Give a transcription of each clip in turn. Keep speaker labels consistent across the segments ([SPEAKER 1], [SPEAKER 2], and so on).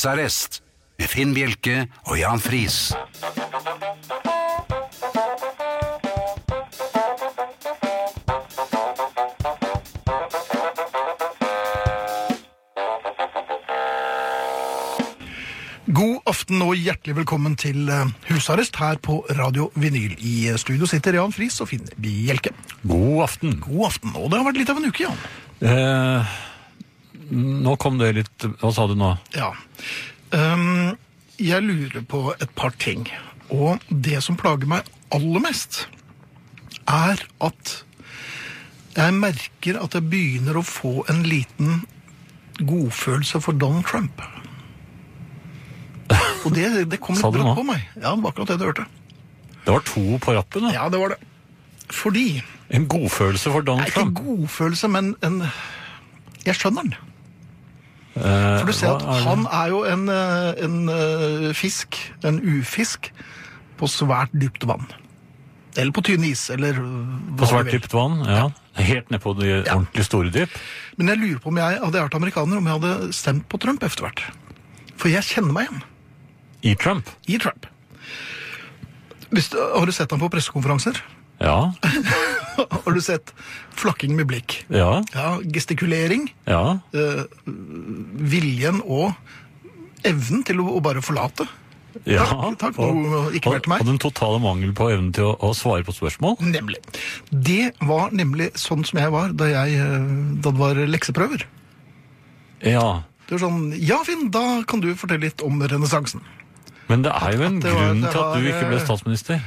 [SPEAKER 1] Husarrest med Finn Bjelke og Jan Friis.
[SPEAKER 2] God aften og hjertelig velkommen til eh, husarrest her på Radio Vinyl. I eh, studio sitter Jan Friis og Finn Bjelke.
[SPEAKER 3] God aften.
[SPEAKER 2] God aften. Og det har vært litt av en uke, Jan.
[SPEAKER 3] Eh, nå kom det litt Hva sa du nå?
[SPEAKER 2] Ja. Ehm, jeg lurer på et par ting. Og det som plager meg aller mest, er at jeg merker at jeg begynner å få en liten godfølelse for Donald Trump. Og det, det kom
[SPEAKER 3] Sa
[SPEAKER 2] litt
[SPEAKER 3] du
[SPEAKER 2] brått
[SPEAKER 3] nå?
[SPEAKER 2] på meg. Ja, det var akkurat det du hørte.
[SPEAKER 3] Det var to på rappen. da.
[SPEAKER 2] Ja, det var det. Fordi
[SPEAKER 3] En godfølelse for Donald
[SPEAKER 2] Nei, ikke en
[SPEAKER 3] Trump.
[SPEAKER 2] godfølelse, men en Jeg skjønner den.
[SPEAKER 3] Eh,
[SPEAKER 2] For du ser
[SPEAKER 3] hva
[SPEAKER 2] at
[SPEAKER 3] er det?
[SPEAKER 2] han er jo en, eh, en eh, fisk, en ufisk, på svært dypt vann. Eller på tynn is, eller eh, hva
[SPEAKER 3] På svært
[SPEAKER 2] du vil.
[SPEAKER 3] dypt vann? Ja. Helt ned på de ordentlig store dyp?
[SPEAKER 2] Men jeg lurer på om jeg hadde vært amerikaner, om jeg hadde stemt på Trump etter hvert. For jeg kjenner meg igjen
[SPEAKER 3] I Trump?
[SPEAKER 2] i Trump. Hvis, du- har du sett ham på pressekonferanser?
[SPEAKER 3] Ja.
[SPEAKER 2] har du sett flakking med blikk?
[SPEAKER 3] Ja.
[SPEAKER 2] Ja, gestikulering.
[SPEAKER 3] Ja.
[SPEAKER 2] eh, viljen og evnen til å, å bare forlate.
[SPEAKER 3] ja.
[SPEAKER 2] Takk, takk, noe- ikke mer til meg.
[SPEAKER 3] Og den totale mangel på evnen til å, å svare på spørsmål?
[SPEAKER 2] Nemlig. Det var nemlig sånn som jeg var da, jeg, eh, da det var lekseprøver.
[SPEAKER 3] Ja.
[SPEAKER 2] Det var sånn Ja, Finn, da kan du fortelle litt om renessansen.
[SPEAKER 3] Men det er jo en
[SPEAKER 2] At det var-
[SPEAKER 3] grunn
[SPEAKER 2] det
[SPEAKER 3] til at du
[SPEAKER 2] var,
[SPEAKER 3] ikke ble
[SPEAKER 2] eh,
[SPEAKER 3] statsminister.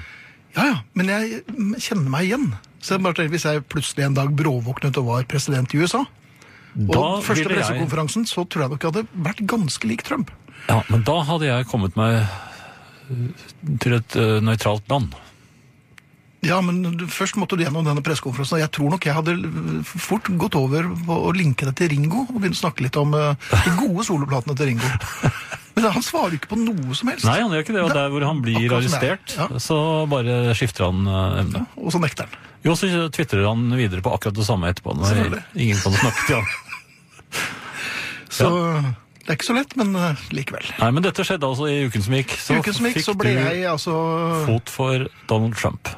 [SPEAKER 2] Ja, ja, men jeg mm, kjenner meg igjen. Så jeg bare tenkte, Hvis jeg plutselig en dag bråvåknet og var president i USA Og
[SPEAKER 3] Da
[SPEAKER 2] første
[SPEAKER 3] ville jeg-
[SPEAKER 2] pressekonferansen, så tror jeg nok jeg hadde vært ganske lik Trump.
[SPEAKER 3] Ja, Men da hadde jeg kommet meg eh, til et eh, nøytralt land.
[SPEAKER 2] Ja, men du- først måtte du gjennom denne pressekonferansen, og jeg tror nok jeg hadde eh, fort gått over på å linke det til Ringo, og begynne å snakke litt om eh, de gode soloplatene til Ringo. Men han svarer jo ikke på noe som helst,
[SPEAKER 3] Nei, han gjør ikke det. Og der hvor han blir
[SPEAKER 2] Akkurat som det er.
[SPEAKER 3] arrestert,
[SPEAKER 2] Ja.
[SPEAKER 3] så bare skifter han eh, emne.
[SPEAKER 2] og så nekter han.
[SPEAKER 3] Jo, så tvitrer han videre på akkurat det samme etterpå. Når
[SPEAKER 2] Selvfølgelig.
[SPEAKER 3] ingen kan snakke til han.
[SPEAKER 2] Så det er ikke så lett, men eh, likevel.
[SPEAKER 3] Nei, men dette skjedde altså i uken som gikk.
[SPEAKER 2] I uken som gikk,
[SPEAKER 3] fikk
[SPEAKER 2] så ble
[SPEAKER 3] du
[SPEAKER 2] jeg altså
[SPEAKER 3] fot for Donald Trump.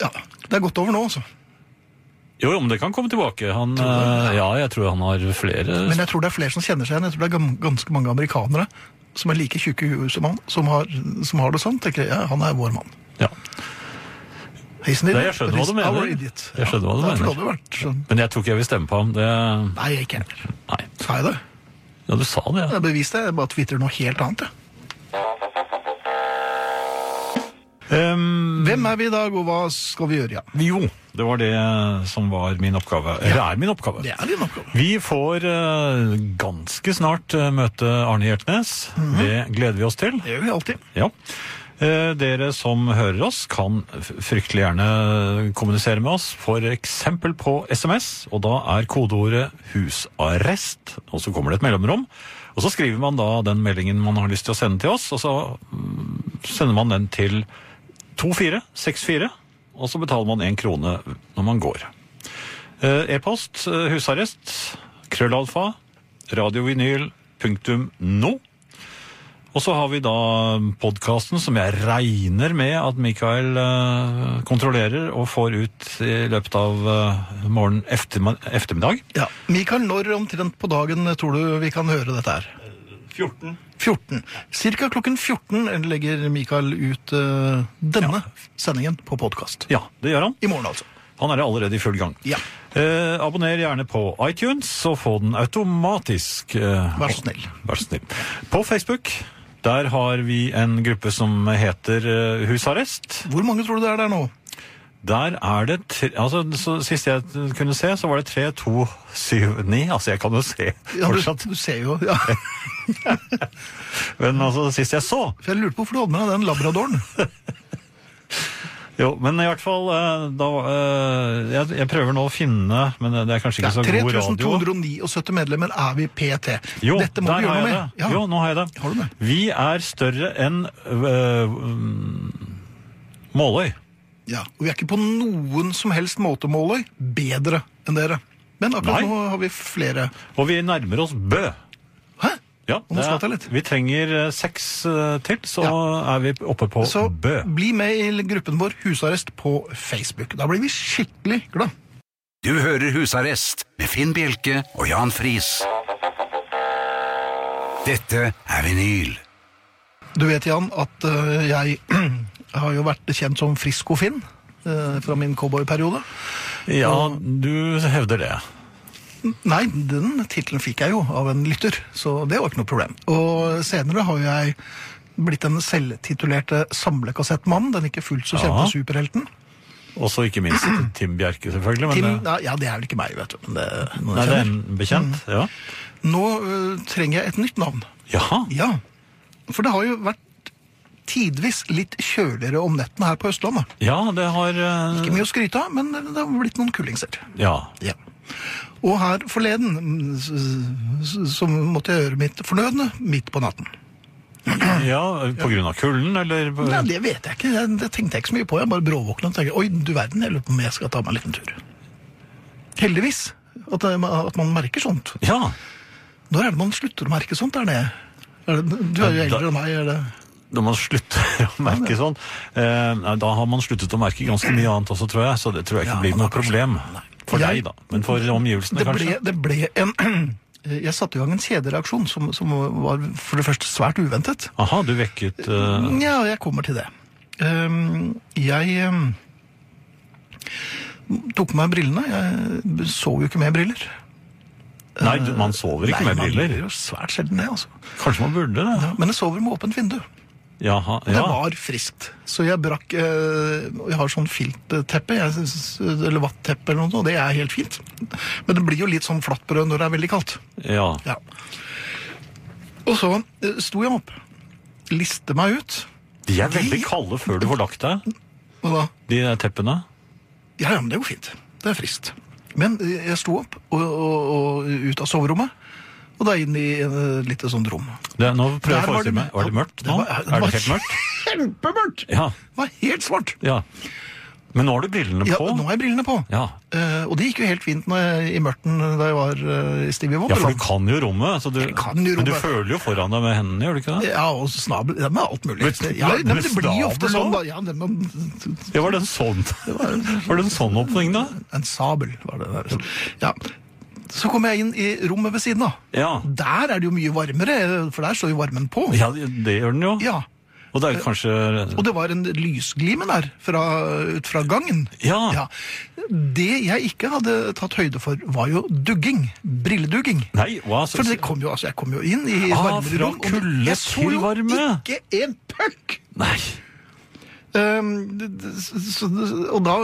[SPEAKER 2] Ja, det er gått over nå, altså.
[SPEAKER 3] Jo, jo, men det kan komme tilbake. Han, eh, ja, jeg tror han har flere
[SPEAKER 2] Men jeg tror det er flere som kjenner seg igjen. Jeg tror det er gam- ganske mange amerikanere som er like tjukke i huet som han, som har, som har det sånn. Tenker jeg, ja, han er vår mann.
[SPEAKER 3] ja.
[SPEAKER 2] He's an
[SPEAKER 3] Nei, jeg
[SPEAKER 2] idiot,
[SPEAKER 3] skjønner
[SPEAKER 2] but
[SPEAKER 3] hva du
[SPEAKER 2] he's our
[SPEAKER 3] mener.
[SPEAKER 2] idiot.
[SPEAKER 3] Jeg skjønner hva du
[SPEAKER 2] Ja, derfor
[SPEAKER 3] mener.
[SPEAKER 2] hadde det vært sånn.
[SPEAKER 3] Men jeg tror ikke jeg vil stemme på ham. Det,
[SPEAKER 2] Nei, jeg ikke heller.
[SPEAKER 3] nei.
[SPEAKER 2] Sa jeg det?
[SPEAKER 3] Ja, du sa det, ja.
[SPEAKER 2] Jeg beviste det. Jeg bare twitterer noe helt annet. jeg.
[SPEAKER 3] Ehm,
[SPEAKER 2] Hvem er vi i dag, og hva skal vi gjøre? Ja,
[SPEAKER 3] jo, det var det som var min oppgave. Eller er min oppgave.
[SPEAKER 2] det er din oppgave.
[SPEAKER 3] Vi får eh, ganske snart eh, møte Arne Hjertnes. Det gleder vi oss til.
[SPEAKER 2] Det gjør vi alltid.
[SPEAKER 3] Ja. Eh, dere som hører oss, kan f- fryktelig gjerne kommunisere med oss, f.eks. på SMS. Og da er kodeordet 'husarrest', og så kommer det et mellomrom. Og så skriver man da den meldingen man har lyst til å sende til oss, og så mm, sender man den til 2464, og så betaler man én krone når man går. Eh, E-post eh, husarrest krøllalfa radiovinyl.no. Og så har vi da podkasten som jeg regner med at Mikael eh, kontrollerer og får ut i løpet av eh, morgen efterma- eftermiddag.
[SPEAKER 2] Ja. Mikael, når omtrent på dagen tror du vi kan høre dette her?
[SPEAKER 3] 14.
[SPEAKER 2] 14. Cirka klokken 14 legger Mikael ut eh, denne sendingen på podkast.
[SPEAKER 3] Ja, det gjør han.
[SPEAKER 2] I morgen, altså.
[SPEAKER 3] Han er allerede i full gang.
[SPEAKER 2] Ja.
[SPEAKER 3] Eh, abonner gjerne på iTunes, så få den automatisk. eh,
[SPEAKER 2] Vær så snill.
[SPEAKER 3] Vær så snill. På Facebook, der har vi en gruppe som heter eh, Husarrest.
[SPEAKER 2] Hvor mange tror du det er der nå?
[SPEAKER 3] Der er det tre, altså så, Sist jeg t- kunne se, så var det 3, 2, 7, 9. Altså, jeg kan jo se
[SPEAKER 2] Ja,
[SPEAKER 3] fortsatt.
[SPEAKER 2] du, du ser jo ja.
[SPEAKER 3] Men altså, sist jeg så
[SPEAKER 2] For Jeg lurte på hvorfor du hadde med deg den labradoren.
[SPEAKER 3] Jo, men i hvert fall eh, da eh, jeg, jeg prøver nå å finne Men det er kanskje
[SPEAKER 2] Ja,
[SPEAKER 3] ikke så god radio.
[SPEAKER 2] 3279 medlemmer er vi PT.
[SPEAKER 3] Jo,
[SPEAKER 2] Dette må
[SPEAKER 3] der
[SPEAKER 2] du gjøre
[SPEAKER 3] har
[SPEAKER 2] noe
[SPEAKER 3] jeg
[SPEAKER 2] med.
[SPEAKER 3] det. Jo, nå har jeg det.
[SPEAKER 2] Har du det?
[SPEAKER 3] Vi er større enn øh, mm, Måløy.
[SPEAKER 2] Ja, og vi er ikke på noen som helst måte, Måløy, bedre enn dere. Men akkurat
[SPEAKER 3] Nei.
[SPEAKER 2] nå har vi flere.
[SPEAKER 3] Og vi nærmer oss Bø.
[SPEAKER 2] Hæ?
[SPEAKER 3] Ja,
[SPEAKER 2] Og nå
[SPEAKER 3] det er-
[SPEAKER 2] slapp jeg litt.
[SPEAKER 3] Vi trenger eh, seks eh, til, så er vi oppe på
[SPEAKER 2] Så
[SPEAKER 3] Bø.
[SPEAKER 2] bli med i gruppen vår Husarrest på Facebook. Da blir vi skikkelig glad.
[SPEAKER 1] Du hører Husarrest med Finn Bjelke og Jan Friis. Dette er vinyl.
[SPEAKER 2] Du vet, Jan, at øh, jeg har jo vært kjent som Frisco-Finn øh, fra min cowboyperiode.
[SPEAKER 3] Ja, du hevder det.
[SPEAKER 2] Nei, den tittelen fikk jeg jo av en lytter, så det var ikke noe problem. Og senere har jeg blitt den selvtitulerte samlekassettmannen, den ikke fullt så kjente
[SPEAKER 3] Ja.
[SPEAKER 2] superhelten.
[SPEAKER 3] Og så ikke minst Tim Bjerke, selvfølgelig. Men
[SPEAKER 2] Tim,
[SPEAKER 3] eh,
[SPEAKER 2] ja, ja, det er vel ikke meg, vet du. Men det, noen jeg
[SPEAKER 3] nei, det er
[SPEAKER 2] kjenner.
[SPEAKER 3] en bekjent.
[SPEAKER 2] Mm.
[SPEAKER 3] Ja.
[SPEAKER 2] Nå øh, trenger jeg et nytt navn.
[SPEAKER 3] Jaha.
[SPEAKER 2] Ja, for det har jo vært tidvis litt kjøligere om nettene her på Østlandet.
[SPEAKER 3] Ja, det har eh,
[SPEAKER 2] Ikke mye å skryte av, men det har blitt noen kullingser.
[SPEAKER 3] Ja.
[SPEAKER 2] Ja. Og her forleden mm, s- s- så måtte jeg gjøre mitt fornødne midt på natten.
[SPEAKER 3] ja. På grunn av kulden, eller på-
[SPEAKER 2] Nei, det vet jeg ikke. Det, det tenkte jeg ikke så mye på. Jeg bare bråvåkna og tenkte oi, du verden, jeg lurer på om jeg skal ta meg en liten tur. Heldigvis. At, det- at man merker sånt.
[SPEAKER 3] Ja.
[SPEAKER 2] Når er det man slutter å merke sånt der nede? Er det, du er jo
[SPEAKER 3] Ja, da-
[SPEAKER 2] eldre enn meg. Er det?
[SPEAKER 3] Når man slutter å merke sånn. eh, nei, Da har man sluttet å merke ganske mye annet også, tror jeg. Så det tror jeg ikke
[SPEAKER 2] Ja,
[SPEAKER 3] blir
[SPEAKER 2] men
[SPEAKER 3] noe problem. For
[SPEAKER 2] Jeg-
[SPEAKER 3] deg, da. Men for omgivelsene,
[SPEAKER 2] Det ble,
[SPEAKER 3] kanskje.
[SPEAKER 2] det ble en Jeg satte i gang en kjedereaksjon som, som var for det første svært uventet.
[SPEAKER 3] Aha, du vekket eh,
[SPEAKER 2] Ja, jeg kommer til det. Ehm, Jeg ehm, tok på meg brillene. Jeg så jo ikke med briller.
[SPEAKER 3] Nei, du, man sover ikke
[SPEAKER 2] Nei,
[SPEAKER 3] med
[SPEAKER 2] Man
[SPEAKER 3] briller.
[SPEAKER 2] gjør jo svært sjelden det, altså.
[SPEAKER 3] Kanskje man burde det.
[SPEAKER 2] Men jeg sover med åpent vindu.
[SPEAKER 3] Jaha,
[SPEAKER 2] Det
[SPEAKER 3] ja.
[SPEAKER 2] var friskt. Så jeg brakk eh, og Jeg har sånn filtteppe, jeg synes- eller vatteppe eller noe, sånt, og det er helt fint. Men det blir jo litt sånn flatt brød når det er veldig kaldt.
[SPEAKER 3] ja.
[SPEAKER 2] Ja. Og så eh, sto jeg opp, liste meg ut,
[SPEAKER 3] De er veldig
[SPEAKER 2] De-
[SPEAKER 3] kalde før du får lagt deg,
[SPEAKER 2] og da
[SPEAKER 3] de der teppene.
[SPEAKER 2] Ja, ja, men det er jo fint. Det er frist. Men eh, jeg sto opp og, og, og ut av soverommet, og da inn i et lite sånt rom.
[SPEAKER 3] Det, nå
[SPEAKER 2] Der
[SPEAKER 3] prøver jeg å
[SPEAKER 2] var det-
[SPEAKER 3] forestille meg. Var det mørkt
[SPEAKER 2] Det
[SPEAKER 3] nå?
[SPEAKER 2] var- det
[SPEAKER 3] er
[SPEAKER 2] var-
[SPEAKER 3] det helt mørkt?
[SPEAKER 2] Kjempemørkt!
[SPEAKER 3] Ja.
[SPEAKER 2] Det var helt svart!
[SPEAKER 3] ja. Men nå har du brillene
[SPEAKER 2] Ja,
[SPEAKER 3] på.
[SPEAKER 2] nå har jeg brillene på.
[SPEAKER 3] Ja.
[SPEAKER 2] Eh, og det gikk jo helt fint når jeg, i mørten da jeg var eh, i Stevie
[SPEAKER 3] ja, for
[SPEAKER 2] Wonderland.
[SPEAKER 3] du kan jo rommet. Så du,
[SPEAKER 2] kan jo
[SPEAKER 3] Men du
[SPEAKER 2] rommet.
[SPEAKER 3] føler jo foran deg med hendene, gjør du ikke det?
[SPEAKER 2] Ja, og snabel ja, Med alt mulig.
[SPEAKER 3] Med-
[SPEAKER 2] ja, nei, men det
[SPEAKER 3] med
[SPEAKER 2] blir jo ofte
[SPEAKER 3] snabel
[SPEAKER 2] sånn,
[SPEAKER 3] også?
[SPEAKER 2] da. Ja, det, man,
[SPEAKER 3] Ja, var det en sånn, var det en sånn åpning, da?
[SPEAKER 2] En sabel var det der. Ja. Så kom jeg inn i rommet ved siden av.
[SPEAKER 3] Ja.
[SPEAKER 2] Der er det jo mye varmere, for der står jo varmen på.
[SPEAKER 3] ja, det gjør den jo.
[SPEAKER 2] Ja.
[SPEAKER 3] Og det er kanskje
[SPEAKER 2] Og det var en lysglime der fra, ut fra gangen.
[SPEAKER 3] Ja.
[SPEAKER 2] Det jeg ikke hadde tatt høyde for, var jo dugging. Brilledugging.
[SPEAKER 3] Nei, hva? Så,
[SPEAKER 2] For det kom jo, altså, jeg kom jo inn i
[SPEAKER 3] Ah,
[SPEAKER 2] varmere
[SPEAKER 3] fra
[SPEAKER 2] rom. og
[SPEAKER 3] kulde
[SPEAKER 2] jeg så
[SPEAKER 3] til
[SPEAKER 2] jo
[SPEAKER 3] varme.
[SPEAKER 2] Ikke en puck!
[SPEAKER 3] Nei.
[SPEAKER 2] Ehm, d- d- så- så- og da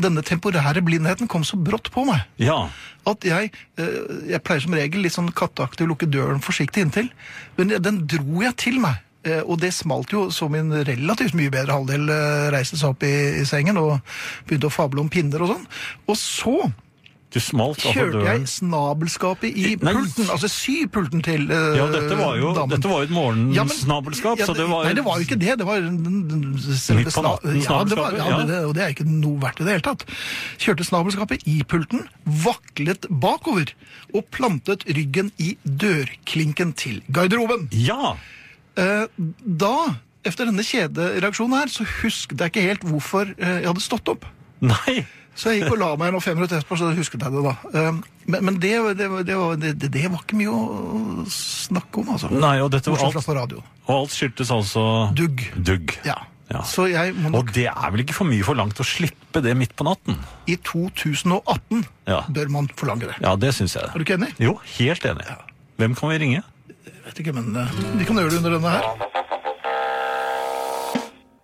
[SPEAKER 2] Denne temporære blindheten kom så brått på meg.
[SPEAKER 3] Ja.
[SPEAKER 2] at jeg, eh, jeg pleier som regel litt sånn katteaktig å lukke døren forsiktig inntil, men den dro jeg til meg. Eh, Og det smalt jo så min relativt mye bedre halvdel eh, reiste seg opp i, i sengen og begynte å fable om pinner og sånn. Og så
[SPEAKER 3] Du smalt av
[SPEAKER 2] kjørte jeg
[SPEAKER 3] døren.
[SPEAKER 2] snabelskapet i
[SPEAKER 3] Nei.
[SPEAKER 2] pulten, altså sypulten til eh,
[SPEAKER 3] Ja, dette var jo,
[SPEAKER 2] damen.
[SPEAKER 3] dette var jo et
[SPEAKER 2] Ja, men-
[SPEAKER 3] morgensnabelskap,
[SPEAKER 2] ja,
[SPEAKER 3] så det var
[SPEAKER 2] Nei, det var jo ikke det. Det var den- den- den- selve
[SPEAKER 3] på
[SPEAKER 2] sna-
[SPEAKER 3] natten,
[SPEAKER 2] Ja, det var,
[SPEAKER 3] snabelskapet,
[SPEAKER 2] ja,
[SPEAKER 3] ja.
[SPEAKER 2] det- Det, og det er ikke noe verdt i det hele tatt. Kjørte snabelskapet i pulten, vaklet bakover og plantet ryggen i dørklinken til garderoben.
[SPEAKER 3] Ja!
[SPEAKER 2] Eh, Da, efter denne kjedereaksjonen her, så husket jeg ikke helt hvorfor eh, jeg hadde stått opp.
[SPEAKER 3] Nei!
[SPEAKER 2] Så jeg gikk og la meg nå fem minutter etterpå, så husket jeg det da. Eh, Men, men det, det, var- det, var- det, det var ikke mye å snakke om, altså.
[SPEAKER 3] Nei, og dette var
[SPEAKER 2] Bortsett
[SPEAKER 3] alt
[SPEAKER 2] fra på radio.
[SPEAKER 3] Og alt skyldtes altså
[SPEAKER 2] Dugg.
[SPEAKER 3] Dugg.
[SPEAKER 2] Ja.
[SPEAKER 3] Ja.
[SPEAKER 2] Så jeg må nok
[SPEAKER 3] Og det er vel ikke for mye forlangt å slippe det midt på natten?
[SPEAKER 2] I 2018
[SPEAKER 3] Ja.
[SPEAKER 2] bør man forlange det.
[SPEAKER 3] Ja, det syns jeg.
[SPEAKER 2] Er du ikke enig?
[SPEAKER 3] Jo, helt enig. Hvem kan vi ringe?
[SPEAKER 2] Jeg vet ikke, men eh, vi kan gjøre det under denne her.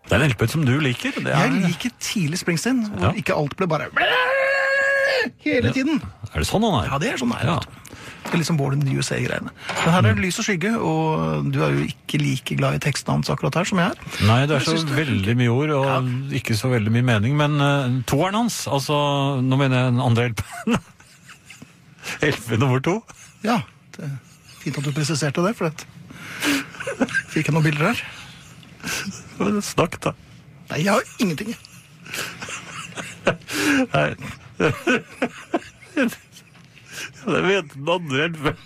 [SPEAKER 3] Det er en LP som du liker. Det er,
[SPEAKER 2] Jeg liker tidlig Springsteen, hvor
[SPEAKER 3] Ja.
[SPEAKER 2] ikke alt ble bare hele tiden.
[SPEAKER 3] er det sånn han er?
[SPEAKER 2] Ja, det er sånn her.
[SPEAKER 3] Ja. Mm.
[SPEAKER 2] Det er liksom Born in the USA-greiene. Men her er det lys og skygge, og du er jo ikke like glad i teksten hans akkurat her som jeg er.
[SPEAKER 3] Nei, det er så
[SPEAKER 2] Jeg synes det-
[SPEAKER 3] veldig mye ord og ikke så veldig mye mening. Men eh, toeren hans, altså Nå mener jeg den andre LP-en. LP nummer to.
[SPEAKER 2] Ja, det er fint at du presiserte det, for det fikk jeg noen bilder her.
[SPEAKER 3] Men Snakk, da.
[SPEAKER 2] Nei, jeg har ingenting. jeg.
[SPEAKER 3] Nei. Jeg vet den andre LP-en.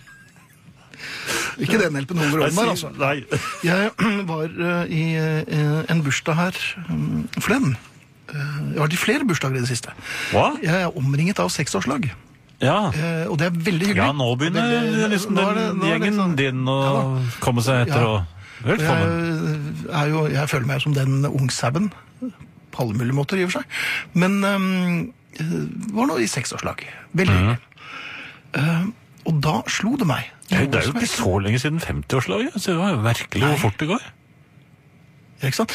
[SPEAKER 2] Ikke den hjelpen over ånden der, altså.
[SPEAKER 3] Nei.
[SPEAKER 2] Jeg var eh, i eh, en bursdag her um, forleden. Eh, Jeg har vært i flere bursdager i det siste.
[SPEAKER 3] Hva?
[SPEAKER 2] Jeg er omringet av seksårslag,
[SPEAKER 3] Ja.
[SPEAKER 2] eh, og det er veldig hyggelig.
[SPEAKER 3] ja, nå begynner
[SPEAKER 2] Veldig-
[SPEAKER 3] liksom
[SPEAKER 2] nå
[SPEAKER 3] den
[SPEAKER 2] er det- nå er det
[SPEAKER 3] gjengen
[SPEAKER 2] liksom-
[SPEAKER 3] din å
[SPEAKER 2] Ja da.
[SPEAKER 3] komme seg etter
[SPEAKER 2] Ja.
[SPEAKER 3] og
[SPEAKER 2] Og Jeg,
[SPEAKER 3] Velkommen.
[SPEAKER 2] eh, er jo, jeg føler meg som den ungsauen. På alle mulige måter, i og for seg. Men ehm, eh, var nå i seksårslag. Veldig
[SPEAKER 3] Mhm.
[SPEAKER 2] hyggelig. Eh, og da slo det meg.
[SPEAKER 3] Hei, Det
[SPEAKER 2] Noe
[SPEAKER 3] er jo
[SPEAKER 2] som
[SPEAKER 3] ikke
[SPEAKER 2] jeg-
[SPEAKER 3] så lenge siden 50-årslaget, så det var jo virkelig
[SPEAKER 2] Nei.
[SPEAKER 3] hvor fort det går.
[SPEAKER 2] Ja, Ikke sant?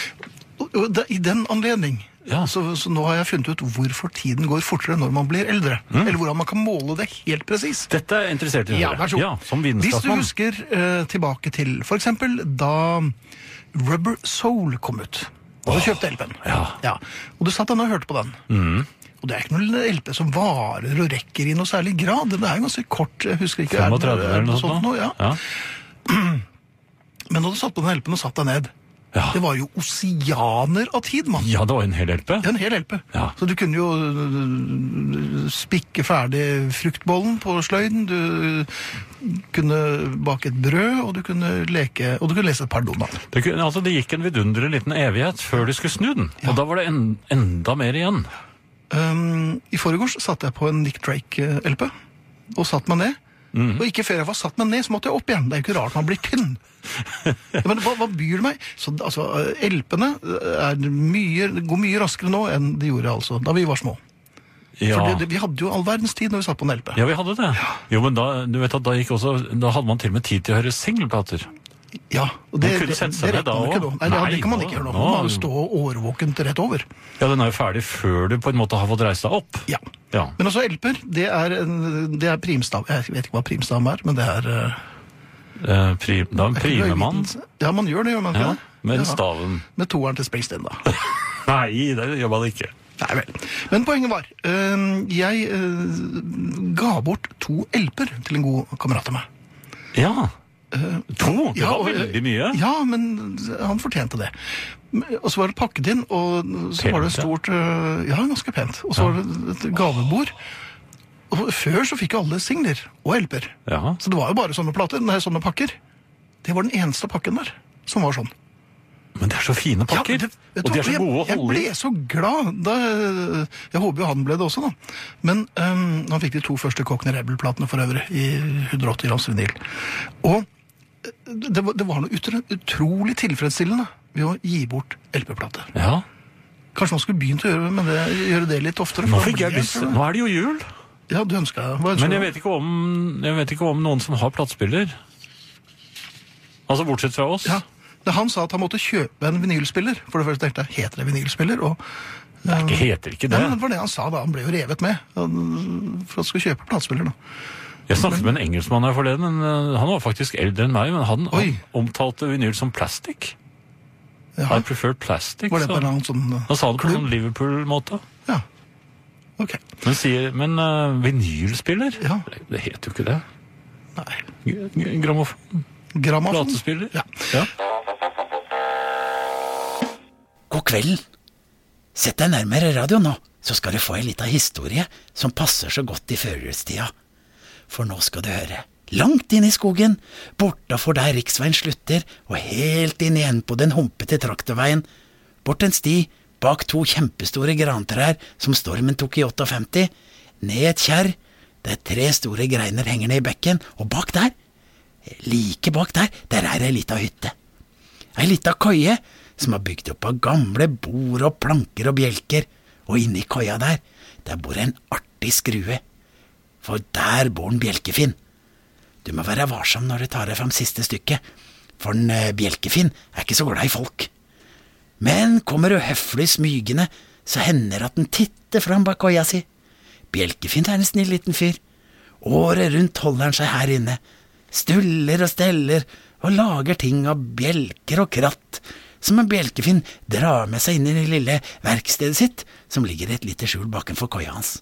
[SPEAKER 2] Og- og det- I den anledning
[SPEAKER 3] Ja.
[SPEAKER 2] så, så nå har jeg funnet ut hvorfor tiden går fortere når man blir eldre. Eller hvordan man kan måle det helt presis.
[SPEAKER 3] Dette Mm. er jeg interessert i å
[SPEAKER 2] Ja,
[SPEAKER 3] høre.
[SPEAKER 2] vær så god.
[SPEAKER 3] Ja, som
[SPEAKER 2] Hvis du
[SPEAKER 3] vitenskapsmann.
[SPEAKER 2] husker eh, tilbake til for eksempel da Rubber Soul kom ut. Og du kjøpte LP-en.
[SPEAKER 3] ja. Mm.
[SPEAKER 2] Og du satt den og hørte på den. Og det er ikke noen LP som varer og rekker i noe særlig grad. Det er jo ganske kort. jeg husker ikke. er det-
[SPEAKER 3] 35
[SPEAKER 2] er det
[SPEAKER 3] eller noe sånt nå?
[SPEAKER 2] ja.
[SPEAKER 3] Ja.
[SPEAKER 2] Men da du satt på den LP-en og satt deg ned,
[SPEAKER 3] Ja.
[SPEAKER 2] det var jo oseaner av tid, mann.
[SPEAKER 3] ja, det var en hel hjelpe.
[SPEAKER 2] En hel LP.
[SPEAKER 3] Ja.
[SPEAKER 2] Så du kunne jo øh, spikke ferdig fruktbollen på sløyden, du kunne bake et brød, og du kunne leke, og du kunne lese et par domaer.
[SPEAKER 3] Det, kunne- altså, det gikk en vidunderlig liten evighet før de skulle snu den. Og da var det en, enda mer igjen.
[SPEAKER 2] Um, I forgårs satt jeg på en Nick Drake-LP, og satt meg ned.
[SPEAKER 3] Mhm.
[SPEAKER 2] Og ikke før jeg var satt meg ned, så måtte jeg opp igjen. Det er jo ikke rart man blir tynn. Ja, Men hva, hva byr det meg? Så, altså, LP-ene er mye, går mye raskere nå enn de gjorde altså, da vi var små.
[SPEAKER 3] Ja.
[SPEAKER 2] For det, det, vi hadde jo all verdens tid når vi satt på en LP.
[SPEAKER 3] ja, vi hadde det. Jo, men da, du vet at da, gikk også, da hadde man til og med tid til å høre singelplater.
[SPEAKER 2] Ja, og det,
[SPEAKER 3] Man kunne
[SPEAKER 2] det,
[SPEAKER 3] sette
[SPEAKER 2] det,
[SPEAKER 3] seg ned
[SPEAKER 2] rekker man ikke nå.
[SPEAKER 3] da også.
[SPEAKER 2] Nei, det,
[SPEAKER 3] Nei,
[SPEAKER 2] det kan man
[SPEAKER 3] nå-
[SPEAKER 2] ikke gjøre nå.
[SPEAKER 3] nå-
[SPEAKER 2] Man må jo stå årvåkent rett over.
[SPEAKER 3] Ja, den er jo ferdig før du på en måte har fått reist deg opp.
[SPEAKER 2] Ja.
[SPEAKER 3] Ja.
[SPEAKER 2] Men også LP-er, det er, en- det er primstav. Jeg vet ikke hva primstav er, men det er eh,
[SPEAKER 3] Eh, pri, da primer man.
[SPEAKER 2] Ja, man gjør det, gjør man ikke
[SPEAKER 3] Ja,
[SPEAKER 2] det?
[SPEAKER 3] med
[SPEAKER 2] Ja.
[SPEAKER 3] staven.
[SPEAKER 2] Med toeren til Springsteen, da.
[SPEAKER 3] Nei, det gjør man ikke.
[SPEAKER 2] Nei vel. Men poenget var, eh, jeg eh, ga bort to LP-er til en god kamerat av meg.
[SPEAKER 3] Ja. Eh, To? Det var
[SPEAKER 2] og-
[SPEAKER 3] veldig mye.
[SPEAKER 2] Ja, men han fortjente det. Men- Og så var det pakket inn, og så
[SPEAKER 3] Pent,
[SPEAKER 2] var det
[SPEAKER 3] ja.
[SPEAKER 2] stort øh, Ja, ganske pent. Og så var det et gavebord. Og før så fikk jo alle singler og LP-er.
[SPEAKER 3] Ja.
[SPEAKER 2] Så det var jo bare sånne plater. Nei, sånne pakker. Det var den eneste pakken der som var sånn.
[SPEAKER 3] Men det er så fine pakker.
[SPEAKER 2] Ja, det- vet du
[SPEAKER 3] og de er
[SPEAKER 2] hva,
[SPEAKER 3] så gode å
[SPEAKER 2] jeg,
[SPEAKER 3] holde
[SPEAKER 2] Jeg
[SPEAKER 3] i.
[SPEAKER 2] ble så glad. Da, øh, jeg håper jo han ble det også, da. Men øhm, han fikk de to første Cockney Rebel-platene for øvrig, i 180 grams vinyl. Og øh, det var, det var noe utro, utrolig tilfredsstillende ved å gi bort LP-plate.
[SPEAKER 3] Ja.
[SPEAKER 2] Kanskje man skulle begynt å gjøre, men det, gjøre det litt oftere. for
[SPEAKER 3] Nå
[SPEAKER 2] da
[SPEAKER 3] fikk jeg
[SPEAKER 2] blir
[SPEAKER 3] lyst
[SPEAKER 2] det-
[SPEAKER 3] Nå er det jo jul.
[SPEAKER 2] Ja, du ønska det.
[SPEAKER 3] Men jeg vet ikke om, jeg vet ikke om noen som har platespiller. Altså bortsett fra oss.
[SPEAKER 2] Ja. Da Han sa at han måtte kjøpe en vinylspiller. For det første tenkte jeg, heter det vinylspiller? Og,
[SPEAKER 3] Det heter ikke
[SPEAKER 2] Nei,
[SPEAKER 3] det.
[SPEAKER 2] men det var det han sa da. Han ble jo revet med han- for at han skulle kjøpe platespiller. da.
[SPEAKER 3] Jeg snakket med en engelskmann her forleden. men, eh, Han var faktisk eldre enn meg, men han
[SPEAKER 2] Oi.
[SPEAKER 3] omtalte vinyl som plastic.
[SPEAKER 2] Ja.
[SPEAKER 3] I prefer plastic.
[SPEAKER 2] Var det
[SPEAKER 3] sa
[SPEAKER 2] på en
[SPEAKER 3] han.
[SPEAKER 2] eller annen sånn uh,
[SPEAKER 3] Han sa det på en sånn Liverpool-måte.
[SPEAKER 2] Ja. Ok.
[SPEAKER 3] Men, sier, men eh, vinylspiller?
[SPEAKER 2] Ja.
[SPEAKER 3] Nei, Det heter jo ikke det.
[SPEAKER 2] Nei.
[SPEAKER 3] G- g- Grammofon.
[SPEAKER 2] Grammafon.
[SPEAKER 3] Platespiller.
[SPEAKER 2] Ja.
[SPEAKER 4] God kvelden. Sett deg nærmere radioen nå, så skal du få ei lita historie som passer så godt i førjulstida. For nå skal du høre. Langt inn i skogen, bortafor der riksveien slutter, og helt inn igjen på den humpete traktorveien. Bort en sti, bak to kjempestore grantrær som stormen tok i 58. Ned et kjerr, der tre store greiner henger ned i bekken, og bak der, like bak der, der er ei lita hytte. Ei lita køye som er bygd opp av gamle bord og planker og bjelker. Og inni køya der, der bor en artig skrue. For der bor en bjelkefinn. Du må være varsom når du tar deg fram siste stykket, for en eh, bjelkefinn er ikke så glad i folk. Men kommer du høflig smygende, så hender at den titter fram bak øya si. Bjelkefint er en snill liten fyr. Året rundt holder han seg her inne. Stuller og steller og lager ting av bjelker og kratt, som en bjelkefinn drar med seg inn i det lille verkstedet sitt, som ligger i et lite skjul bakenfor køya hans.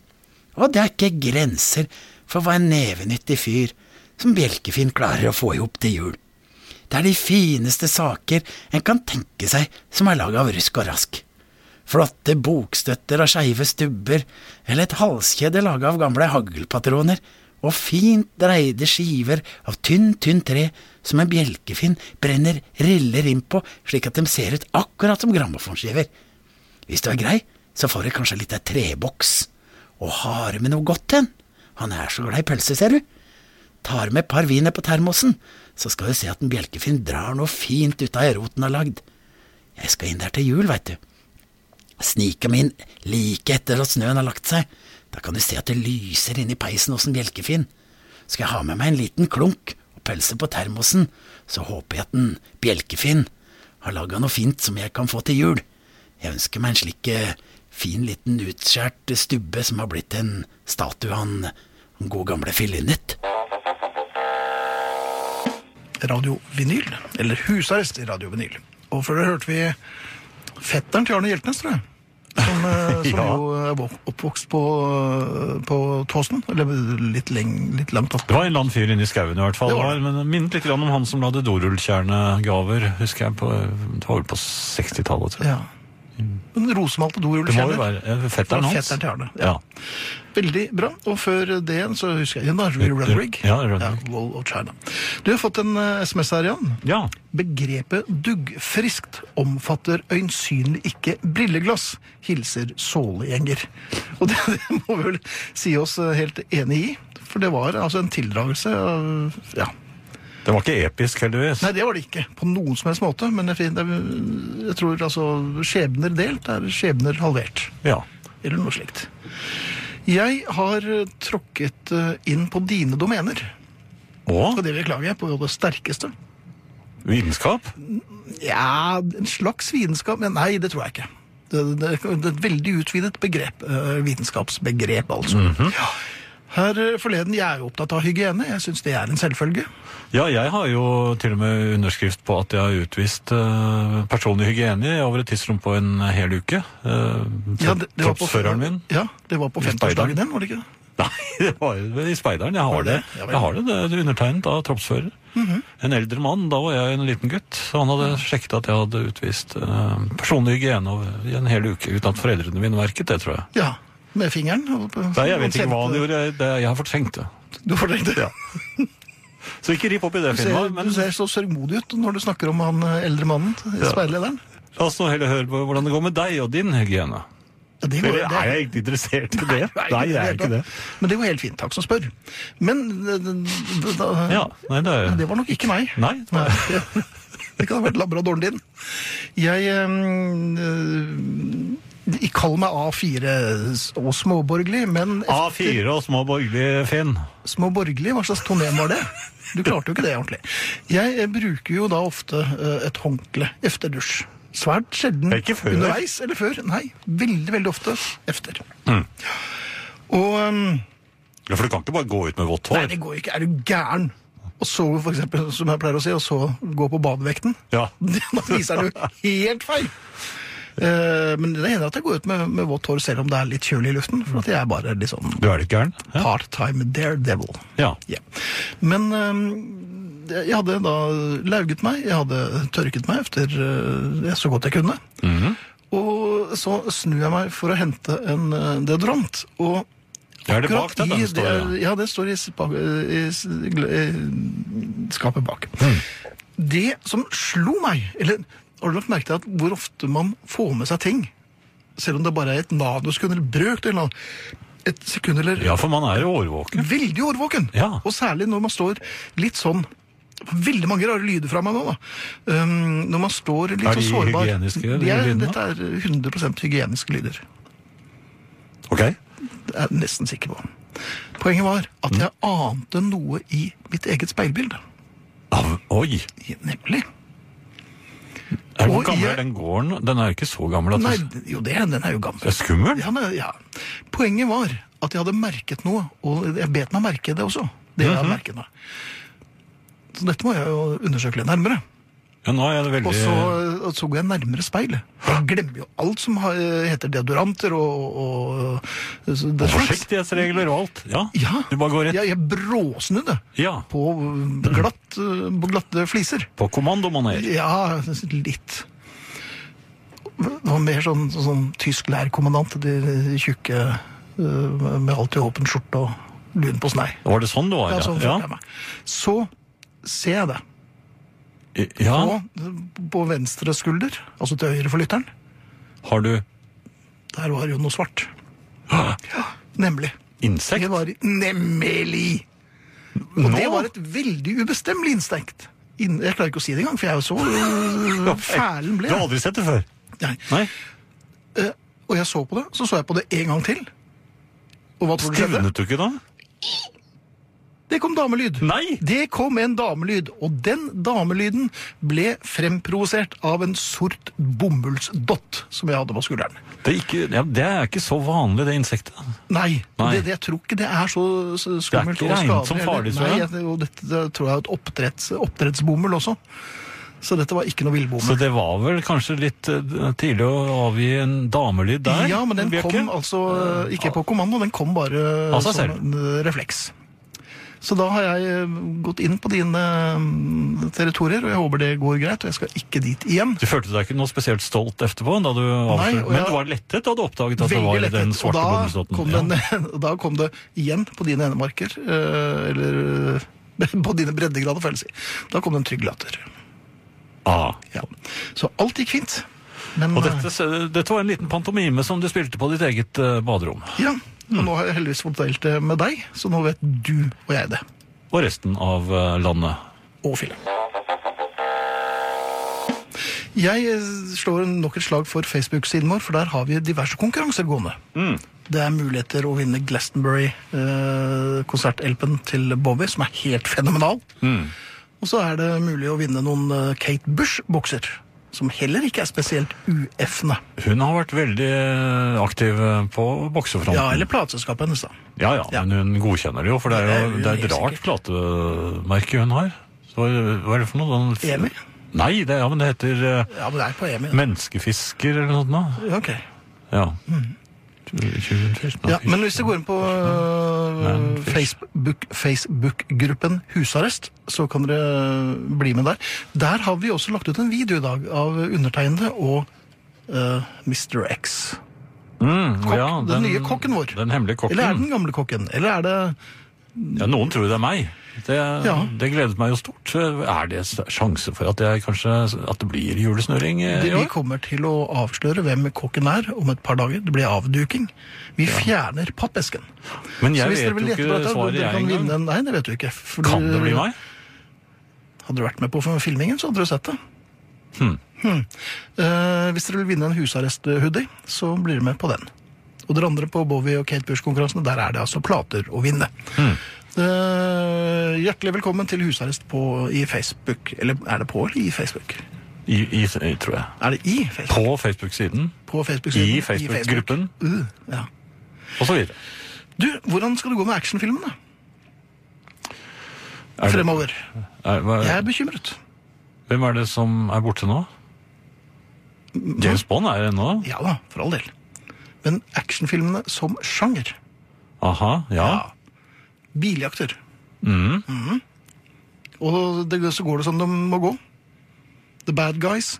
[SPEAKER 4] Og det er ikke grenser for hva en nevenyttig fyr som Bjelkefinn klarer å få i hop til jul. Det er de fineste saker en kan tenke seg som er laga av rusk og rask. Flotte bokstøtter og skeive stubber, eller et halskjede laga av gamle haglpatroner, og fint dreide skiver av tynn, tynn tre som en bjelkefinn brenner riller inn på, slik at de ser ut akkurat som grammofonskiver. Hvis du er grei, så får du kanskje litt av treboks. Og hare med noe godt til. Han er så glad i pølse, ser du. Tar med et par wiener på termosen, så skal du se at en bjelkefinn drar noe fint ut av roten har lagd. Jeg skal inn der til jul, veit du. Snike meg inn like etter at snøen har lagt seg. Da kan du se at det lyser inni peisen hos en bjelkefinn. Skal jeg ha med meg en liten klunk og pølse på termosen, så håper jeg at en bjelkefinn har laga noe fint som jeg kan få til jul. Jeg ønsker meg en slik eh, fin liten utskjært stubbe som har blitt en statue av han, han gode gamle Fillinnet.
[SPEAKER 2] Radio Vinyl, eller husarrest i Radio Vinyl. Og før det hørte vi fetteren til Arne Hjeltnes, tror jeg. Som, eh, som
[SPEAKER 3] Ja.
[SPEAKER 2] jo er vok- oppvokst på, eh, på Tåsen. Eller litt, leng, litt langt
[SPEAKER 3] Det
[SPEAKER 2] opp.
[SPEAKER 3] var en eller annen fyr inne i skauen i hvert fall.
[SPEAKER 2] Det
[SPEAKER 3] Det
[SPEAKER 2] var
[SPEAKER 3] var,
[SPEAKER 2] det.
[SPEAKER 3] men det minnet litt grann om han som lagde dorullkjernegaver, husker jeg. På, det var vel på 60-tallet, tror jeg.
[SPEAKER 2] Ja. Men rosemalte dorull
[SPEAKER 3] Det må jo
[SPEAKER 2] kjenner.
[SPEAKER 3] være eh,
[SPEAKER 2] Det var
[SPEAKER 3] fetteren hans.
[SPEAKER 2] fetteren til Arne,
[SPEAKER 3] Ja.
[SPEAKER 2] Veldig bra. Og før det igjen så husker jeg igjen da, Run Rig.
[SPEAKER 3] Ja, Run Rig.
[SPEAKER 2] Wall of China. Du har fått en eh, SMS her, Jan.
[SPEAKER 3] ja.
[SPEAKER 2] Begrepet duggfriskt omfatter øyensynlig ikke brilleglass, hilser sålegjenger. Og det, det må vi vel si oss eh, helt enig i, for det var altså en tildragelse av ja.
[SPEAKER 3] Det var ikke episk, heldigvis.
[SPEAKER 2] Nei, det var det ikke, på noen som helst måte, men jeg, fin- jeg, jeg tror altså skjebner delt er skjebner halvert,
[SPEAKER 3] Ja.
[SPEAKER 2] eller noe slikt. Jeg har eh, tråkket eh, inn på dine domener, og
[SPEAKER 3] Og
[SPEAKER 2] det beklager jeg på det sterkeste.
[SPEAKER 3] vitenskap.
[SPEAKER 2] Ja, en slags vitenskap, men nei, det tror jeg ikke. Det, det, det er et veldig utvidet begrep, eh, vitenskapsbegrep altså.
[SPEAKER 3] Mhm.
[SPEAKER 2] ja. Her eh, forleden, jeg er jo opptatt av hygiene, jeg synes det er en selvfølge.
[SPEAKER 3] Ja, jeg har jo til og med underskrift på at jeg har utvist eh, personlig hygiene over et tidsrom på en hel uke. Uh,
[SPEAKER 2] Ja, det, det var på-
[SPEAKER 3] Kroppsføreren min.
[SPEAKER 2] Ja, det var på
[SPEAKER 3] Eller
[SPEAKER 2] 50-årsdagen
[SPEAKER 3] speideren.
[SPEAKER 2] den, var det ikke det?
[SPEAKER 3] Nei, det var jo i speideren. Jeg
[SPEAKER 2] Var
[SPEAKER 3] har
[SPEAKER 2] det?
[SPEAKER 3] det. Mhm.
[SPEAKER 2] Ja vel.
[SPEAKER 3] Jeg har det, det er undertegnet av troppsfører. En eldre mann, da var jeg en liten gutt, så han hadde sjekket at jeg hadde utvist eh, personlig hygiene over, i en hel uke uten at foreldrene mine merket det, tror jeg.
[SPEAKER 2] Ja, med fingeren. og på-
[SPEAKER 3] Nei, jeg vet ikke hva han
[SPEAKER 2] sendte-
[SPEAKER 3] gjorde, jeg- det, jeg har fortrengt det.
[SPEAKER 2] Du fortrengte det.
[SPEAKER 3] Så ikke rip opp i det,
[SPEAKER 2] Du ser,
[SPEAKER 3] Finnmark, men
[SPEAKER 2] du ser så sørgmodig ut når du snakker om han eh, eldre mannen, speidlederen.
[SPEAKER 3] la oss nå heller høre på hvordan det går med deg og din hygiene.
[SPEAKER 2] Ja, det går-
[SPEAKER 3] Eller,
[SPEAKER 2] det-
[SPEAKER 3] er jeg egentlig interessert i det? Nei, jeg er ikke det.
[SPEAKER 2] Men det går helt fint, takk som spør. Men eh, da,
[SPEAKER 3] Ja, nei, det
[SPEAKER 2] Men
[SPEAKER 3] er
[SPEAKER 2] det var nok ikke meg.
[SPEAKER 3] Nei, det var-
[SPEAKER 2] Det kan ha vært labradoren din. Jeg øhm, øh, jeg Kall meg A4 og småborgerlig, men etter-
[SPEAKER 3] A4 og små borgerlige Finn.
[SPEAKER 2] Småborgerlig? Hva slags tonem var det? Du klarte jo ikke det ordentlig. Jeg eh, bruker jo da ofte eh, et håndkle efter dusj. Svært sjelden
[SPEAKER 3] Det er ikke før.
[SPEAKER 2] underveis eller før. Nei, veldig, veldig ofte efter.
[SPEAKER 3] Mm.
[SPEAKER 2] Og øhm,
[SPEAKER 3] Ja, for du kan ikke bare gå ut med vått
[SPEAKER 2] Nei, det
[SPEAKER 3] hår.
[SPEAKER 2] går jo ikke. Er du gæren? Og så, for eksempel, som jeg pleier å si, og så gå på badevekten.
[SPEAKER 3] Ja.
[SPEAKER 2] Da viser du helt feil. Eh, men det hender at jeg går ut med, med vått hår selv om det er litt kjølig i luften, for at jeg er bare litt sånn
[SPEAKER 3] Du er litt gæren? Ja.
[SPEAKER 2] part-time daredevil.
[SPEAKER 3] ja.
[SPEAKER 2] Ja. Men eh, jeg hadde da lauget meg, jeg hadde tørket meg efter eh, så godt jeg kunne. Og så snur jeg meg for å hente en eh, deodorant, og
[SPEAKER 3] Er det
[SPEAKER 2] Akkurat
[SPEAKER 3] bak deg
[SPEAKER 2] i
[SPEAKER 3] den står? ja?
[SPEAKER 2] det- Ja, det står i, spa- i, s- gl- i skapet bak.
[SPEAKER 3] Mm.
[SPEAKER 2] Det som slo meg, eller har du lagt merke til at hvor ofte man får med seg ting, selv om det bare er et nanosekund eller brøkt eller noe, et sekund eller
[SPEAKER 3] Ja, for man er jo årvåken.
[SPEAKER 2] veldig årvåken.
[SPEAKER 3] Ja.
[SPEAKER 2] Og særlig når man står litt sånn Veldig mange rare lyder fra meg nå, da. Um, når man står litt
[SPEAKER 3] Er
[SPEAKER 2] så
[SPEAKER 3] de
[SPEAKER 2] sårbar.
[SPEAKER 3] hygieniske, de
[SPEAKER 2] De er,
[SPEAKER 3] lydene?
[SPEAKER 2] dette er 100 hygieniske lyder.
[SPEAKER 3] Ok.
[SPEAKER 2] Det er jeg nesten sikker på. Poenget var at
[SPEAKER 3] Mm.
[SPEAKER 2] jeg ante noe i mitt eget speilbilde.
[SPEAKER 3] Av, oi!
[SPEAKER 2] I- Nemlig.
[SPEAKER 3] Er
[SPEAKER 2] Og
[SPEAKER 3] Hvor gammel
[SPEAKER 2] jeg-
[SPEAKER 3] er den gården? Den er jo ikke så gammel at
[SPEAKER 2] Nei,
[SPEAKER 3] du...
[SPEAKER 2] jo det, den er jo
[SPEAKER 3] Det
[SPEAKER 2] gammel.
[SPEAKER 3] er skummel?
[SPEAKER 2] Ja, men, ja. Poenget var at jeg hadde merket noe, og jeg bet meg merke det også. Det jeg har
[SPEAKER 3] Mhm.
[SPEAKER 2] merket meg. Så dette må jeg jo undersøke litt nærmere.
[SPEAKER 3] Ja, nå er det veldig...
[SPEAKER 2] Og så, og så går jeg nærmere speilet. Jeg glemmer jo alt som har, heter deodoranter og, og så det slags.
[SPEAKER 3] Forsiktighetsregler og alt. Ja,
[SPEAKER 2] Ja,
[SPEAKER 3] du bare går rett...
[SPEAKER 2] jeg, jeg bråsnudde
[SPEAKER 3] Ja,
[SPEAKER 2] på, glatt, på glatte fliser.
[SPEAKER 3] på kommandomaner.
[SPEAKER 2] Ja, litt. Det var mer sånn, sånn tysk lærkommandant, de tjukke øh, med alltid åpen skjorte og lun på snei.
[SPEAKER 3] Var det sånn det var?
[SPEAKER 2] Ja, sånn følte jeg
[SPEAKER 3] ja.
[SPEAKER 2] meg. Så ser jeg det
[SPEAKER 3] ja.
[SPEAKER 2] på, på venstre skulder, altså til høyre for lytteren.
[SPEAKER 3] Har du
[SPEAKER 2] Der var jo noe svart. Ja, nemlig. Det
[SPEAKER 3] insekt?
[SPEAKER 2] var nemlig! Og det var et veldig ubestemmelig instinkt. Inn- Jeg klarer ikke å si det engang, for jeg er jo så øh, fælen
[SPEAKER 3] Du
[SPEAKER 2] ble.
[SPEAKER 3] har aldri sett det før?
[SPEAKER 2] Nei.
[SPEAKER 3] Nei.
[SPEAKER 2] Eh, Og jeg så på det, så så jeg på det en gang til. Og hva tror du skjedde?
[SPEAKER 3] Stivnet du ikke da?
[SPEAKER 2] Det kom damelyd.
[SPEAKER 3] Nei!
[SPEAKER 2] Det kom en damelyd, og den damelyden ble fremprovosert av en sort bomullsdott som jeg hadde på skulderen.
[SPEAKER 3] Det er ikke, ja, det er ikke så vanlig, det insektet.
[SPEAKER 2] Nei,
[SPEAKER 3] Nei.
[SPEAKER 2] Det, det, jeg tror ikke det er så så skummelt
[SPEAKER 3] Det er ikke
[SPEAKER 2] og
[SPEAKER 3] regnet som
[SPEAKER 2] skadelig,
[SPEAKER 3] farlig, tror
[SPEAKER 2] eller-
[SPEAKER 3] jeg.
[SPEAKER 2] Nei, jeg- og dette det tror jeg er et oppdretts, oppdrettsbomull også. Så dette var ikke noe
[SPEAKER 3] Så
[SPEAKER 2] villbomull.
[SPEAKER 3] det var vel kanskje litt eh, tidlig å avgi en damelyd der?
[SPEAKER 2] Ja, men den
[SPEAKER 3] Bjørke?
[SPEAKER 2] kom altså eh, ikke på kommando, den kom bare
[SPEAKER 3] Av seg
[SPEAKER 2] som
[SPEAKER 3] selv.
[SPEAKER 2] en eh, refleks. Så da har jeg eh, gått inn på dine eh, territorier, og jeg håper det går greit, og jeg skal ikke dit igjen.
[SPEAKER 3] Du følte deg ikke noe spesielt stolt etterpå? da du avslørte-
[SPEAKER 2] og
[SPEAKER 3] Men
[SPEAKER 2] jeg-
[SPEAKER 3] du var lettet da du oppdaget at det
[SPEAKER 2] Veldig
[SPEAKER 3] var
[SPEAKER 2] lettet,
[SPEAKER 3] den
[SPEAKER 2] og
[SPEAKER 3] svarte
[SPEAKER 2] da
[SPEAKER 3] bomullsdotten?
[SPEAKER 2] kom,
[SPEAKER 3] Ja.
[SPEAKER 2] den, og da kom det igjen på dine enemarker, eh, eller eh, på dine breddegrader, får jeg si. Da kom det en trygg latter.
[SPEAKER 3] Ah.
[SPEAKER 2] Ja. Så alt gikk fint. Men
[SPEAKER 3] Og dette, s- dette var en liten pantomime som du spilte på ditt eget eh, baderom.
[SPEAKER 2] eh, ja, og nå har jeg heldigvis fått delt det med deg, så nå vet du og jeg det.
[SPEAKER 3] Og resten av eh, landet.
[SPEAKER 2] Og Philip. Jeg eh, slår nok et slag for Facebook-siden vår, for der har vi diverse konkurranser gående. Det er muligheter å vinne Glastonbury-konsertelpen til Bobby, som er helt fenomenal. Og så er det mulig å vinne noen eh, Kate Bush-bokser, som heller ikke er spesielt ueffende.
[SPEAKER 3] Hun har vært veldig eh, aktiv eh, på boksefronten.
[SPEAKER 2] Ja, eller plateselskapet hennes, da.
[SPEAKER 3] ja, ja,
[SPEAKER 2] Ja.
[SPEAKER 3] men hun godkjenner det jo, for det
[SPEAKER 2] Det
[SPEAKER 3] er
[SPEAKER 2] er
[SPEAKER 3] jo
[SPEAKER 2] hun
[SPEAKER 3] det er et
[SPEAKER 2] helt
[SPEAKER 3] rart platemerke hun har. Så, hva er- hva er det for noe? Sånn-
[SPEAKER 2] Emi?
[SPEAKER 3] Nei, det, ja, men det heter eh,
[SPEAKER 2] Ja, men det er på EMI. da.
[SPEAKER 3] Menneskefisker eller noe sånt. da.
[SPEAKER 2] Ja, ok.
[SPEAKER 3] Ja.
[SPEAKER 2] Mm.
[SPEAKER 3] Tjuvenfisk,
[SPEAKER 2] Ja,
[SPEAKER 3] fisk.
[SPEAKER 2] men hvis du går inn på øh,
[SPEAKER 3] fisk.
[SPEAKER 2] Facebook- Facebook-gruppen Husarrest, så kan dere bli med der. Der har vi også lagt ut en video i dag av undertegnede og øh, Mr. X.
[SPEAKER 3] Mm,
[SPEAKER 2] kokk- den nye kokken vår.
[SPEAKER 3] Den hemmelige kokken.
[SPEAKER 2] Eller er det den gamle kokken? Eller er det
[SPEAKER 3] Ja, noen tror det er meg. Det,
[SPEAKER 2] Ja.
[SPEAKER 3] det gledet meg jo stort. Er det s- sjanse for at, jeg kanskje, at det blir julesnurring eh,
[SPEAKER 2] det,
[SPEAKER 3] i
[SPEAKER 2] Vi
[SPEAKER 3] år?
[SPEAKER 2] kommer til å avsløre hvem kokken er om et par dager. Det blir avduking. Vi fjerner pappesken.
[SPEAKER 3] Men
[SPEAKER 2] Så
[SPEAKER 3] jeg
[SPEAKER 2] hvis dere
[SPEAKER 3] vet
[SPEAKER 2] vil
[SPEAKER 3] jo
[SPEAKER 2] gjette på
[SPEAKER 3] ikke
[SPEAKER 2] dette,
[SPEAKER 3] svaret
[SPEAKER 2] dere
[SPEAKER 3] jeg
[SPEAKER 2] kan vinne eh,
[SPEAKER 3] engang.
[SPEAKER 2] en Nei, det vet du ikke. for
[SPEAKER 3] Kan
[SPEAKER 2] du-
[SPEAKER 3] det bli meg?
[SPEAKER 2] Hadde du vært med på filmingen, så hadde du sett det. Hmm. Eh, hvis dere vil vinne en husarrest-hoodie, så blir dere med på den. Og dere andre på Bowie og Kate Bush-konkurransene, der er det altså plater å vinne.
[SPEAKER 3] Hmm.
[SPEAKER 2] Eh, hjertelig velkommen til husarrest på, i Facebook. Eller er det på eller i Facebook?
[SPEAKER 3] I, i, i- tror jeg.
[SPEAKER 2] Er det i Facebook?
[SPEAKER 3] På Facebook-siden,
[SPEAKER 2] På Facebook-siden.
[SPEAKER 3] i Facebook-gruppen,
[SPEAKER 2] Uh, ja.
[SPEAKER 3] og så videre.
[SPEAKER 2] Du, hvordan skal det gå med actionfilmene
[SPEAKER 3] Er det-
[SPEAKER 2] fremover?
[SPEAKER 3] er, hva,
[SPEAKER 2] Jeg er bekymret.
[SPEAKER 3] Hvem er det som er borte nå?
[SPEAKER 2] Mm,
[SPEAKER 3] James Bond er det nå?
[SPEAKER 2] Ja da, for all del. Men actionfilmene som sjanger.
[SPEAKER 3] Aha, ja. Mm.
[SPEAKER 2] Biljakter. Mhm. Og det, så går det som de må gå. The bad guys.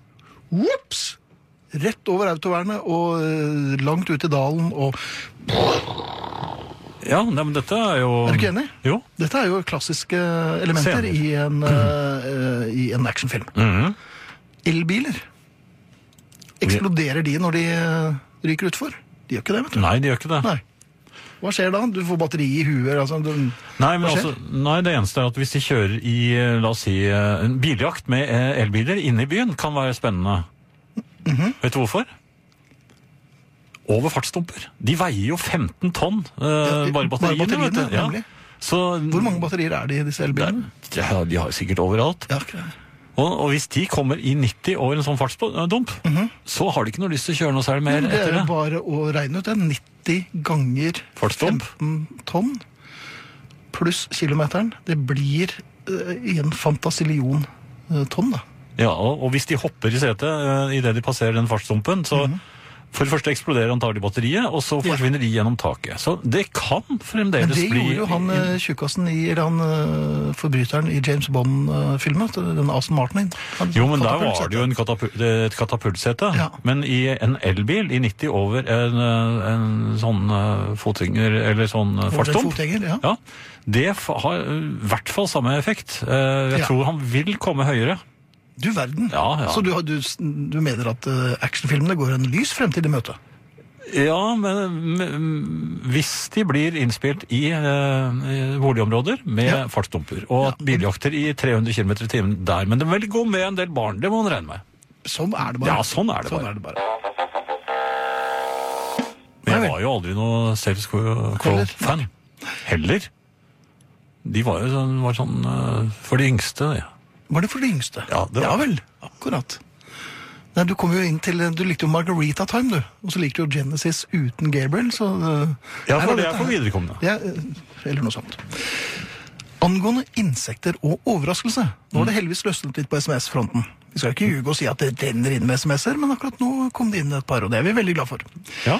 [SPEAKER 2] Whoops! Rett over autovernet og eh, langt ut i dalen. Og
[SPEAKER 3] Ja, nei, men dette er jo
[SPEAKER 2] Er du ikke enig?
[SPEAKER 3] Jo.
[SPEAKER 2] dette er jo klassiske eh, elementer
[SPEAKER 3] Scener.
[SPEAKER 2] i en, eh, eh, i en actionfilm.
[SPEAKER 3] Mhm.
[SPEAKER 2] Elbiler. Eksploderer de når de eh, ryker utfor? De gjør ikke det, vet du.
[SPEAKER 3] Nei, de gjør ikke det.
[SPEAKER 2] Nei. Hva skjer da? Du får batteri i huet. Altså, du,
[SPEAKER 3] Nei, men
[SPEAKER 2] Hva
[SPEAKER 3] altså,
[SPEAKER 2] skjer?
[SPEAKER 3] nei, det eneste er at hvis de kjører i, eh, la oss si, eh, en biljakt med eh, elbiler inne i byen, kan være spennende.
[SPEAKER 2] Mhm.
[SPEAKER 3] Vet du hvorfor? Over fartsdumper. De veier jo 15 tonn, eh,
[SPEAKER 2] de- bare
[SPEAKER 3] bare batteriene, vet
[SPEAKER 2] batteriene,
[SPEAKER 3] du. Ja.
[SPEAKER 2] nemlig.
[SPEAKER 3] Så,
[SPEAKER 2] hvor mange batterier er det i disse elbilene?
[SPEAKER 3] Ja, de har sikkert overalt.
[SPEAKER 2] Ja, akkurat.
[SPEAKER 3] Og, og hvis de kommer i 90 over en sånn fartsdump, så har de ikke noe lyst til å kjøre noe særlig mer
[SPEAKER 2] Mhm. Det er
[SPEAKER 3] etter
[SPEAKER 2] jo
[SPEAKER 3] det.
[SPEAKER 2] bare å regne ut det. 90 ganger
[SPEAKER 3] Fartsdump.
[SPEAKER 2] 15 tonn pluss kilometeren. Det blir eh, i en fantasillion eh, tonn, da.
[SPEAKER 3] eh,
[SPEAKER 2] Mhm.
[SPEAKER 3] Ja, og, og hvis de hopper i setet uh, idet de passerer den fartsdumpen, så For det første eksploderer antagelig batteriet, og så forsvinner de gjennom taket. Så det kan fremdeles
[SPEAKER 2] Men det
[SPEAKER 3] bli
[SPEAKER 2] gjorde jo han eh, tjukkasen i eller han eh, forbryteren i James Bond-filmen. eh, Den Aston Martin. Han
[SPEAKER 3] Jo, men der
[SPEAKER 2] katapult
[SPEAKER 3] var det jo en katapult, et katapultsete.
[SPEAKER 2] Ja.
[SPEAKER 3] Men i en elbil i 90 over en, eh, en sånn eh, fotgjenger eller sånn eh,
[SPEAKER 2] Over en
[SPEAKER 3] fartsdump
[SPEAKER 2] fotgjenger, ja.
[SPEAKER 3] Det f- har eh, i hvert fall samme effekt. Eh, Jeg
[SPEAKER 2] Ja.
[SPEAKER 3] tror han vil komme høyere.
[SPEAKER 2] Du verden.
[SPEAKER 3] Ja, ja.
[SPEAKER 2] Så du, har- du, s- du mener at eh, actionfilmene går en lys fremtid i møte?
[SPEAKER 3] Ja, men men hvis de blir innspilt i eh, boligområder med
[SPEAKER 2] Ja.
[SPEAKER 3] fartsdumper, og at biljakter i 300 km i timen der, men det vil gå med en del barn, det må man regne med.
[SPEAKER 2] Sånn er det bare.
[SPEAKER 3] Ja, sånn er det
[SPEAKER 2] Sånn
[SPEAKER 3] bare.
[SPEAKER 2] er det bare. Nei
[SPEAKER 3] Men jeg
[SPEAKER 2] vel.
[SPEAKER 3] var jo aldri noe Saves Crow-fan. Heller. De var jo sånn, var sånn eh, for de yngste, det.
[SPEAKER 2] Var det for de yngste?
[SPEAKER 3] Ja, det var
[SPEAKER 2] ja
[SPEAKER 3] det.
[SPEAKER 2] vel. Akkurat. Nei, du kom jo inn til Du likte jo Margarita Time, du. Og så likte du jo Genesis uten Gabriel, så eh,
[SPEAKER 3] Ja,
[SPEAKER 2] her
[SPEAKER 3] for
[SPEAKER 2] var
[SPEAKER 3] det er
[SPEAKER 2] dette
[SPEAKER 3] for
[SPEAKER 2] her.
[SPEAKER 3] viderekomne.
[SPEAKER 2] Det er, eh, eller noe sånt. Angående insekter og overraskelse. Nå
[SPEAKER 3] Mm.
[SPEAKER 2] har det heldigvis løsnet litt på SMS-fronten. Vi skal ikke ljuge og si at det renner inn med SMS-er, men akkurat nå kom det inn et par, og det er vi veldig glad for.
[SPEAKER 3] Ja.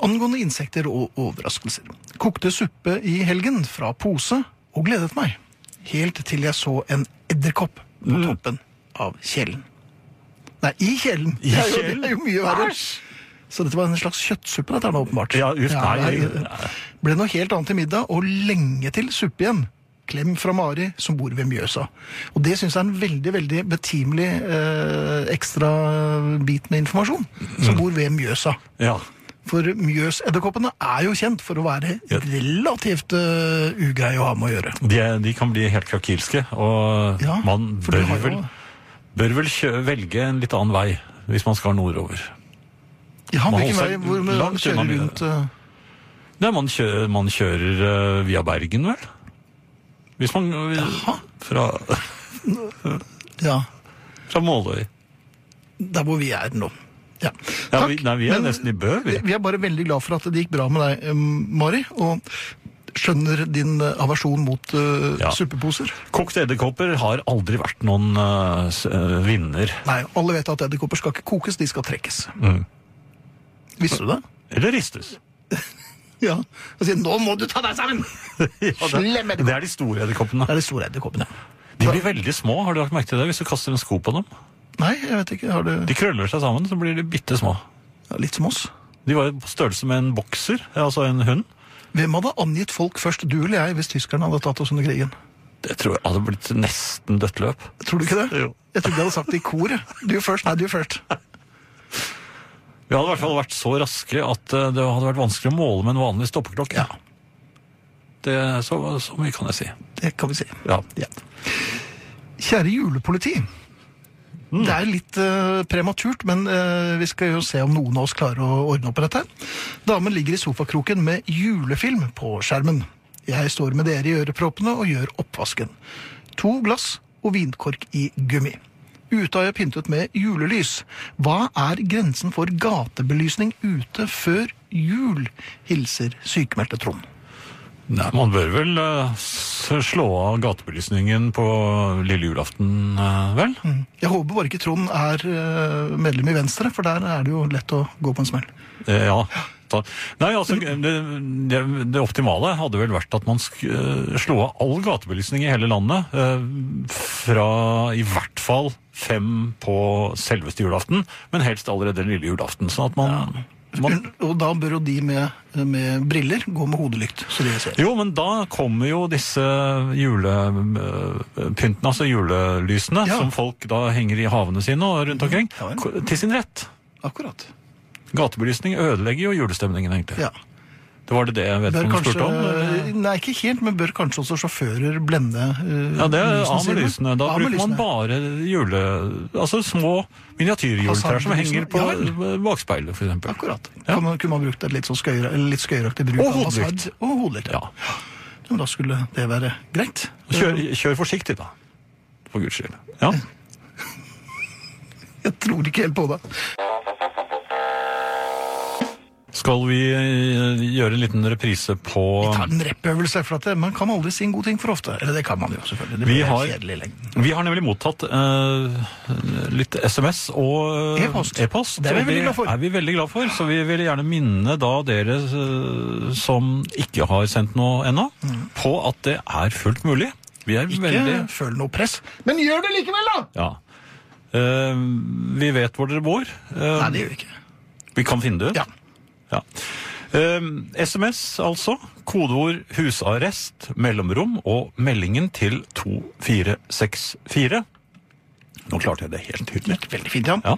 [SPEAKER 2] Angående insekter og overraskelser. Kokte suppe i helgen fra pose og gledet meg. Helt til jeg så en edderkopp på
[SPEAKER 3] Mm.
[SPEAKER 2] toppen av kjelen. Nei, i kjelen!
[SPEAKER 3] I
[SPEAKER 2] det, er jo,
[SPEAKER 3] kjelen?
[SPEAKER 2] det er jo mye verre. Så dette var en slags kjøttsuppe, dette er da åpenbart.
[SPEAKER 3] Ja, uff, nei,
[SPEAKER 2] det Ble noe helt annet til middag, og lenge til suppe igjen. Klem fra Mari, som bor ved Mjøsa. Og det syns jeg er en veldig veldig betimelig eh, ekstra bit med informasjon.
[SPEAKER 3] Mm.
[SPEAKER 2] Som bor ved Mjøsa.
[SPEAKER 3] ja.
[SPEAKER 2] For mjøsedderkoppene er jo kjent for å være
[SPEAKER 3] Ja.
[SPEAKER 2] relativt uh, ugreie å ha med å gjøre.
[SPEAKER 3] De, er- de kan bli helt krakilske, og
[SPEAKER 2] Ja,
[SPEAKER 3] man
[SPEAKER 2] for du
[SPEAKER 3] bør
[SPEAKER 2] har jo-
[SPEAKER 3] vel, bør vel kjø, velge en litt annen vei hvis man skal nordover.
[SPEAKER 2] Ja,
[SPEAKER 3] Man
[SPEAKER 2] hvilken vei
[SPEAKER 3] holder seg
[SPEAKER 2] hvor man
[SPEAKER 3] langt unna
[SPEAKER 2] kjører
[SPEAKER 3] mye.
[SPEAKER 2] rundt eh,
[SPEAKER 3] Nei, man kjører, man kjører eh, via Bergen, vel? Hvis man Jaha. Fra,
[SPEAKER 2] Ja,
[SPEAKER 3] fra Måløy.
[SPEAKER 2] der hvor vi er nå. Ja,
[SPEAKER 3] Ja,
[SPEAKER 2] Takk.
[SPEAKER 3] vi, nei, vi er
[SPEAKER 2] Men
[SPEAKER 3] nesten i Bø, vi.
[SPEAKER 2] vi er bare veldig glad for at det gikk bra med deg, eh, Mari. Og skjønner din eh, aversjon mot eh,
[SPEAKER 3] Ja.
[SPEAKER 2] suppeposer.
[SPEAKER 3] Kokte edderkopper har aldri vært noen eh, s- eh, vinner.
[SPEAKER 2] Nei, alle vet at edderkopper skal ikke kokes, de skal trekkes.
[SPEAKER 3] Mm.
[SPEAKER 2] Visste du det?
[SPEAKER 3] Eller ristes.
[SPEAKER 2] Ja. Og sier 'nå må du ta deg sammen'! Slem
[SPEAKER 3] det, det er de store edderkoppene.
[SPEAKER 2] Det er de store edderkoppene.
[SPEAKER 3] De blir veldig små, har du lagt merke til det? Hvis du kaster en sko på dem.
[SPEAKER 2] Nei, jeg vet ikke. Har du
[SPEAKER 3] De krøller seg sammen, så blir de bitte små.
[SPEAKER 2] ja, Litt som oss?
[SPEAKER 3] De var jo på størrelse med en bokser, altså en hund.
[SPEAKER 2] Hvem hadde angitt folk først, du eller jeg, hvis tyskerne hadde tatt oss under krigen?
[SPEAKER 3] Det tror jeg hadde blitt nesten dødt løp.
[SPEAKER 2] Tror du ikke det?
[SPEAKER 3] Jo.
[SPEAKER 2] Jeg trodde de hadde sagt det i koret. Du først, nei, du først.
[SPEAKER 3] Vi hadde i hvert fall vært så raske at eh, det hadde vært vanskelig å måle med en vanlig stoppeklokke. Det, så, så mye kan jeg si.
[SPEAKER 2] Det kan vi si.
[SPEAKER 3] Ja.
[SPEAKER 2] Ja. Kjære julepoliti. Det er litt eh, prematurt, men eh, vi skal jo se om noen av oss klarer å ordne opp i dette. Damen ligger i sofakroken med julefilm på skjermen. Jeg står med dere i øreproppene og gjør oppvasken. To glass og vinkork i gummi. Ute har jeg pyntet med julelys. Hva er grensen for gatebelysning ute før jul? Hilser sykemeldte Trond.
[SPEAKER 3] Nei, man bør vel eh, s- slå av gatebelysningen på lille julaften, eh, vel?
[SPEAKER 2] Jeg håper bare ikke Trond er eh, medlem i Venstre, for der er det jo lett å gå på en smell.
[SPEAKER 3] Eh, Ja. Ta- Nei, altså, det, det, det optimale hadde vel vært at man sk eh, slo av all gatebelysning i hele landet eh, fra i hvert fall fem på selveste julaften, men helst allerede lille julaften. Sånn at man, man
[SPEAKER 2] Og da bør jo de med, med briller gå med hodelykt, så de ser.
[SPEAKER 3] Jo, men da kommer jo disse julepyntene, altså julelysene,
[SPEAKER 2] Ja. Mhm.
[SPEAKER 3] som folk da henger i havene sine og rundt omkring,
[SPEAKER 2] Ja vel.
[SPEAKER 3] ko- til sin rett.
[SPEAKER 2] Akkurat.
[SPEAKER 3] Gatebelysning ødelegger jo julestemningen, egentlig.
[SPEAKER 2] Ja.
[SPEAKER 3] Det var det det jeg vet
[SPEAKER 2] Bør
[SPEAKER 3] om du
[SPEAKER 2] kanskje, eh,
[SPEAKER 3] spurte om? eh, eller?
[SPEAKER 2] nei, ikke helt, men bør kanskje også sjåfører blende eh,
[SPEAKER 3] Ja, det er
[SPEAKER 2] lysene
[SPEAKER 3] av med
[SPEAKER 2] sine?
[SPEAKER 3] lysene. Da
[SPEAKER 2] Av med
[SPEAKER 3] bruker man
[SPEAKER 2] lysene.
[SPEAKER 3] bare jule... Altså små miniatyrjuletrær som
[SPEAKER 2] Fasadlysene.
[SPEAKER 3] henger på
[SPEAKER 2] Ja
[SPEAKER 3] eh,
[SPEAKER 2] vel. bakspeilet,
[SPEAKER 3] bakspeilet, for eksempel.
[SPEAKER 2] Akkurat.
[SPEAKER 3] Ja.
[SPEAKER 2] Kan man, kunne man brukt et litt sånn skøyere, eller litt skøyeraktig bruk
[SPEAKER 3] Og
[SPEAKER 2] av
[SPEAKER 3] hodelykt.
[SPEAKER 2] fasad Og hodelykt.
[SPEAKER 3] Ja.
[SPEAKER 2] Ja, men da skulle det være greit.
[SPEAKER 3] Kjør, kjør forsiktig, da. For guds skyld. Ja.
[SPEAKER 2] Jeg tror ikke helt på det.
[SPEAKER 3] Skal vi eh, gjøre en liten reprise på
[SPEAKER 2] Vi tar en repøvelse, for at det, man kan aldri si en god ting for ofte. Eller det kan man jo, selvfølgelig. Det
[SPEAKER 3] Vi
[SPEAKER 2] blir helt
[SPEAKER 3] har-
[SPEAKER 2] kjedelig i lengden.
[SPEAKER 3] Vi har nemlig mottatt eh, litt SMS og eh,
[SPEAKER 2] E-post.
[SPEAKER 3] e-post.
[SPEAKER 2] Det er vi
[SPEAKER 3] og
[SPEAKER 2] veldig glad for.
[SPEAKER 3] er vi veldig glad for, så vi vil gjerne minne da dere eh, som ikke har sendt noe ennå, på at det er fullt mulig. Vi er
[SPEAKER 2] Mm. Ikke
[SPEAKER 3] veldig
[SPEAKER 2] føl noe press. Men gjør det likevel, da!
[SPEAKER 3] Ja. Eh, vi vet hvor dere bor. Eh,
[SPEAKER 2] Nei, det gjør vi ikke.
[SPEAKER 3] Vi kan finne det ut.
[SPEAKER 2] Ja.
[SPEAKER 3] Ja. Ehm, SMS, altså. Kodeord 'husarrest', mellomrom og meldingen til 2464. Nå klarte jeg det helt tydelig.
[SPEAKER 2] Gikk veldig fint, Jan.
[SPEAKER 3] Ja.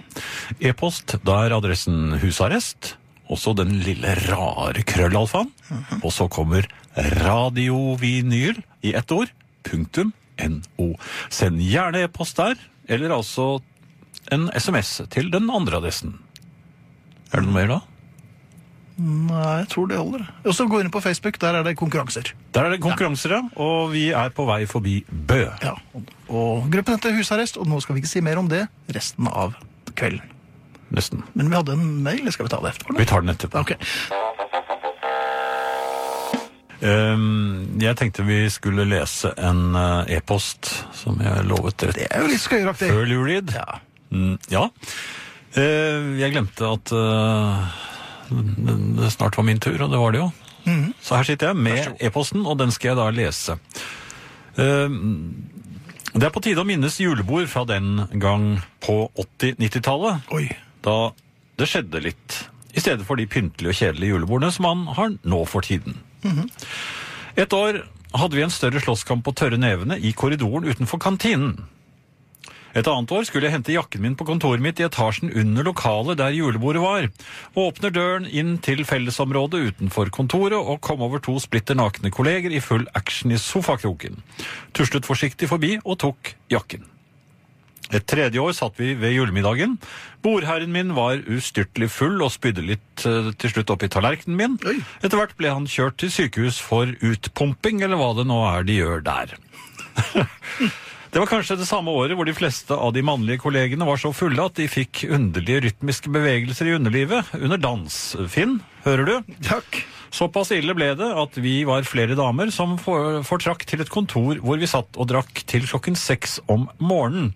[SPEAKER 3] E-post, da er adressen husarrest. Også den lille rare krøllalfaen.
[SPEAKER 2] Mhm.
[SPEAKER 3] Og så kommer radiovinyl i ett ord. Punktum no. Send gjerne e-post der, eller altså en SMS til den andre adressen. Er det noe mer da?
[SPEAKER 2] Nei, eh, jeg tror det holder. Og så gå inn på Facebook, der er det konkurranser.
[SPEAKER 3] Der er det konkurranser, ja. Og vi er på vei forbi Bø.
[SPEAKER 2] Ja. Og, og gruppen heter Husarrest, og nå skal vi ikke si mer om det resten av kvelden.
[SPEAKER 3] Nesten.
[SPEAKER 2] Men vi hadde en mail, skal vi ta det etterpå? eller?
[SPEAKER 3] Vi tar den etterpå.
[SPEAKER 2] Ok.
[SPEAKER 3] Ehm, jeg tenkte vi skulle lese en eh, e-post som jeg lovet rett
[SPEAKER 2] Det er jo litt skøyeraktig.
[SPEAKER 3] før Lurid.
[SPEAKER 2] Ja.
[SPEAKER 3] Mm, ja. Eh, jeg glemte at eh, det det snart var min tur, og det var det jo. Så her sitter jeg med e-posten, og den skal jeg da lese. Eh, det er på tide å minnes julebord fra den gang på 80-90-tallet.
[SPEAKER 2] Oi.
[SPEAKER 3] da det skjedde litt, i stedet for de pyntelige og kjedelige julebordene som han har nå for tiden. Et år hadde vi en større slåsskamp på tørre nevene i korridoren utenfor kantinen. Et annet år skulle jeg hente jakken min på kontoret mitt i etasjen under lokalet der julebordet var, og åpner døren inn til fellesområdet utenfor kontoret og kom over to splitter nakne kolleger i full action i sofakroken. Tuslet forsiktig forbi og tok jakken. Et tredje år satt vi ved julemiddagen. Bordherren min var ustyrtelig full og spydde litt eh, til slutt opp i tallerkenen min.
[SPEAKER 2] Oi.
[SPEAKER 3] Etter hvert ble han kjørt til sykehus for utpumping, eller hva det nå er de gjør der. Det var kanskje det samme året hvor de fleste av de mannlige kollegene var så fulle at de fikk underlige rytmiske bevegelser i underlivet under dans. Finn, hører du?
[SPEAKER 2] Takk.
[SPEAKER 3] Såpass ille ble det at vi var flere damer som for, fortrakk til et kontor hvor vi satt og drakk til klokken seks om morgenen.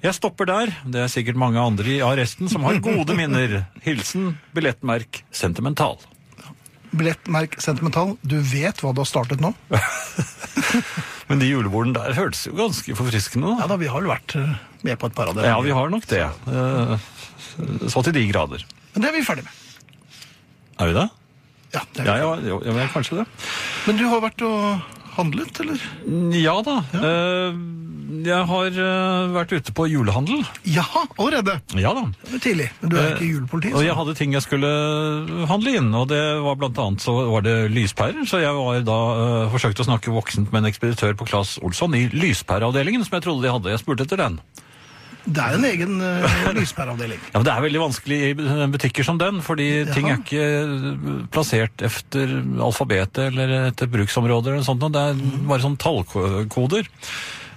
[SPEAKER 3] Jeg stopper der. Det er sikkert mange andre i arresten som har gode minner. Hilsen billettmerk sentimental.
[SPEAKER 2] Billettmerk sentimental. Du vet hva du har startet nå?
[SPEAKER 3] Men de julebordene der hørtes jo ganske forfriskende
[SPEAKER 2] Ja
[SPEAKER 3] ut.
[SPEAKER 2] da, vi har vel vært eh, med på et par av dem.
[SPEAKER 3] Ja, vi har nok det. Eh, Så til de grader.
[SPEAKER 2] Men det er vi ferdig med.
[SPEAKER 3] Er vi det?
[SPEAKER 2] Ja, det er vi
[SPEAKER 3] Ja,
[SPEAKER 2] ferdig
[SPEAKER 3] ja, ja, ja kanskje det.
[SPEAKER 2] med. Men du har vært og handlet, eller?
[SPEAKER 3] Ja da. Eh, Jeg har eh, vært ute på julehandel.
[SPEAKER 2] Jaha, allerede.
[SPEAKER 3] Ja da.
[SPEAKER 2] Det er tidlig. Men du er ikke
[SPEAKER 3] Eh,
[SPEAKER 2] julepoliti?
[SPEAKER 3] Og
[SPEAKER 2] Så.
[SPEAKER 3] jeg hadde ting jeg skulle handle inn, og det var blant annet så var det lyspærer, så jeg var da øh, forsøkte å snakke voksent med en ekspeditør på Claes Olsson i lyspæreavdelingen, som jeg trodde de hadde. Jeg spurte etter den.
[SPEAKER 2] Det er en egen uh, lyspæreavdeling.
[SPEAKER 3] Ja, men Det er veldig vanskelig i eh, butikker som den, fordi ting er ikke øh, plassert efter alfabetet eller etter bruksområder eller sånt, noe. det er bare sånn tallkoder.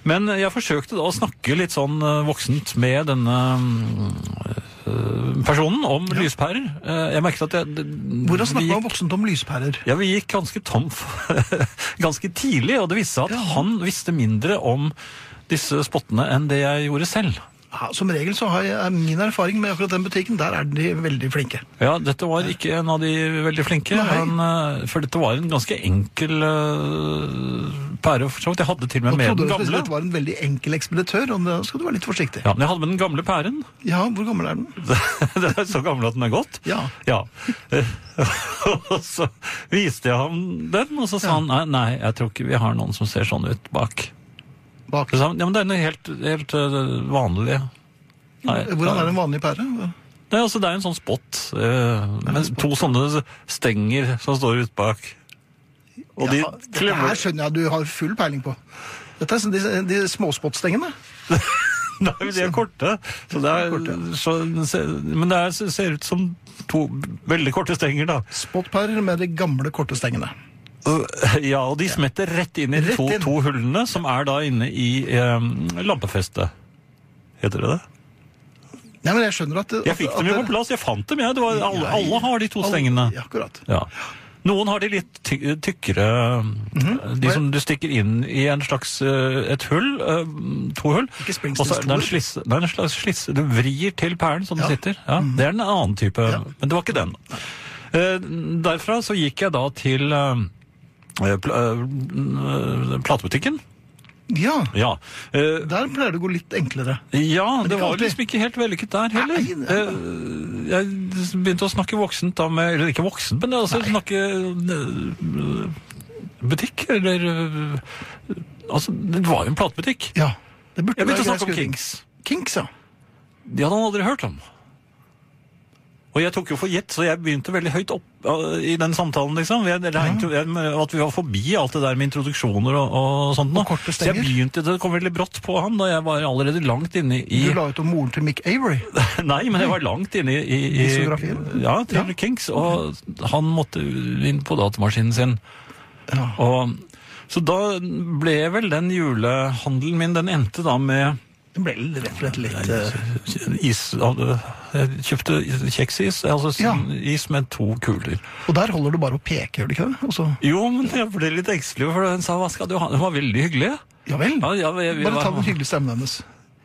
[SPEAKER 3] Men jeg forsøkte da å snakke litt sånn øh, voksent med denne øh, personen om lyspærer. Eh, Jeg merket at jeg...
[SPEAKER 2] Hvordan
[SPEAKER 3] vi
[SPEAKER 2] snakker
[SPEAKER 3] gikk-
[SPEAKER 2] man voksent om lyspærer?
[SPEAKER 3] Ja, vi gikk ganske tom for, ganske tidlig, og det viste seg at han visste mindre om disse spottene enn det jeg gjorde selv.
[SPEAKER 2] Ja, som regel så har jeg, er min erfaring med akkurat den butikken, der er de veldig flinke.
[SPEAKER 3] Ja, dette var ikke en av de veldig flinke,
[SPEAKER 2] Nei.
[SPEAKER 3] han, eh, for dette var en ganske enkel eh, pære. For så vidt. Jeg hadde til og
[SPEAKER 2] Nå
[SPEAKER 3] med med
[SPEAKER 2] trodde
[SPEAKER 3] den
[SPEAKER 2] du at
[SPEAKER 3] gamle.
[SPEAKER 2] det var en veldig enkel ekspeditør, og da skal du være litt forsiktig.
[SPEAKER 3] Ja, men jeg hadde med den gamle pæren.
[SPEAKER 2] Ja, hvor gammel er den?
[SPEAKER 3] Den er så gammel at den er gått.
[SPEAKER 2] Ja.
[SPEAKER 3] Eh, og så viste jeg ham den, og så sa han nei, nei, jeg tror ikke vi har noen som ser sånn ut bak.
[SPEAKER 2] Bak.
[SPEAKER 3] Så sa han, ja, men det er noe helt, helt øh, vanlig. Nei,
[SPEAKER 2] Hvordan er en vanlig pære?
[SPEAKER 3] Nei, altså, det er en sånn spott øh, med to sånne stenger som står ut bak. Og de
[SPEAKER 2] Ja, sånn- dette
[SPEAKER 3] klemmer
[SPEAKER 2] her skjønner jeg du har full peiling på. Dette er sånn de, de småspottstengene.
[SPEAKER 3] Nei, men de er korte. Så det er,
[SPEAKER 2] korte,
[SPEAKER 3] så, se- men det er, ser ut som to veldig korte stenger, da.
[SPEAKER 2] Spottpærer med de gamle, korte stengene.
[SPEAKER 3] Ja, og de smetter rett inn i de
[SPEAKER 2] Rett
[SPEAKER 3] to,
[SPEAKER 2] inn.
[SPEAKER 3] to hullene som er da inne i eh, lampefestet. Heter det det?
[SPEAKER 2] Nei, men jeg skjønner at...
[SPEAKER 3] Jeg fikk dem jo på plass, jeg fant dem, jeg. Det var, alle,
[SPEAKER 2] Ja,
[SPEAKER 3] alle har de to
[SPEAKER 2] alle-
[SPEAKER 3] stengene.
[SPEAKER 2] ja, akkurat.
[SPEAKER 3] Ja. Noen har de litt ty tykkere
[SPEAKER 2] Mhm.
[SPEAKER 3] De som du stikker inn i en slags eh, et hull, eh, to hull.
[SPEAKER 2] Ikke Springsteens
[SPEAKER 3] Og så er det en
[SPEAKER 2] toer.
[SPEAKER 3] slisse- Det er en slags slisse Du vrir til perlen som den
[SPEAKER 2] Ja. Mhm.
[SPEAKER 3] sitter. Ja, Det er en annen type, men det var ikke den. Eh, derfra så gikk jeg da til eh, eh, pl eh, platebutikken.
[SPEAKER 2] Ja,
[SPEAKER 3] Ja. Eh,
[SPEAKER 2] der pleier det å gå litt enklere.
[SPEAKER 3] ja, det
[SPEAKER 2] ikke
[SPEAKER 3] var
[SPEAKER 2] alltid.
[SPEAKER 3] liksom ikke helt vellykket der heller.
[SPEAKER 2] Nei, nei,
[SPEAKER 3] Eh, Jeg begynte å snakke voksent da med Eller ikke voksent, men altså snakke eh, butikk, eller eh, Altså, det var jo en platebutikk.
[SPEAKER 2] Ja, det burde
[SPEAKER 3] Jeg begynte å
[SPEAKER 2] være
[SPEAKER 3] snakke om
[SPEAKER 2] grei skuring.
[SPEAKER 3] Kings.
[SPEAKER 2] Kinks, ja.
[SPEAKER 3] De hadde han aldri hørt om. Og jeg tok jo for gitt, så jeg begynte veldig høyt opp eh, i den samtalen, liksom. Jeg regnet jo jeg, med at vi var forbi alt det der med introduksjoner og, og sånt. nå.
[SPEAKER 2] Og korte
[SPEAKER 3] så jeg
[SPEAKER 2] stenger.
[SPEAKER 3] begynte, det kom veldig brått på han da jeg var allerede langt inne i
[SPEAKER 2] Du la ut om moren til Mick Avery.
[SPEAKER 3] Nei, men jeg var langt inne i, i, i
[SPEAKER 2] Discografien?
[SPEAKER 3] Ja, til
[SPEAKER 2] Ja.
[SPEAKER 3] Kings, og han måtte inn på datamaskinen sin.
[SPEAKER 2] Ja.
[SPEAKER 3] Og, så da ble vel den julehandelen min, den endte da med
[SPEAKER 2] Det ble rett og slett litt... eh,
[SPEAKER 3] is Jeg kjøpte kjeksis, altså
[SPEAKER 2] Ja.
[SPEAKER 3] is med to kuler.
[SPEAKER 2] Og der holder du bare å peke, gjør du ikke det? Og så...
[SPEAKER 3] Jo, men jeg ble litt engstelig, for hun sa hva skal du ha? Den var veldig hyggelig.
[SPEAKER 2] Ja vel.
[SPEAKER 3] Ja, ja, vi- vi
[SPEAKER 2] Bare
[SPEAKER 3] var-
[SPEAKER 2] ta den hyggelige stemmen hennes.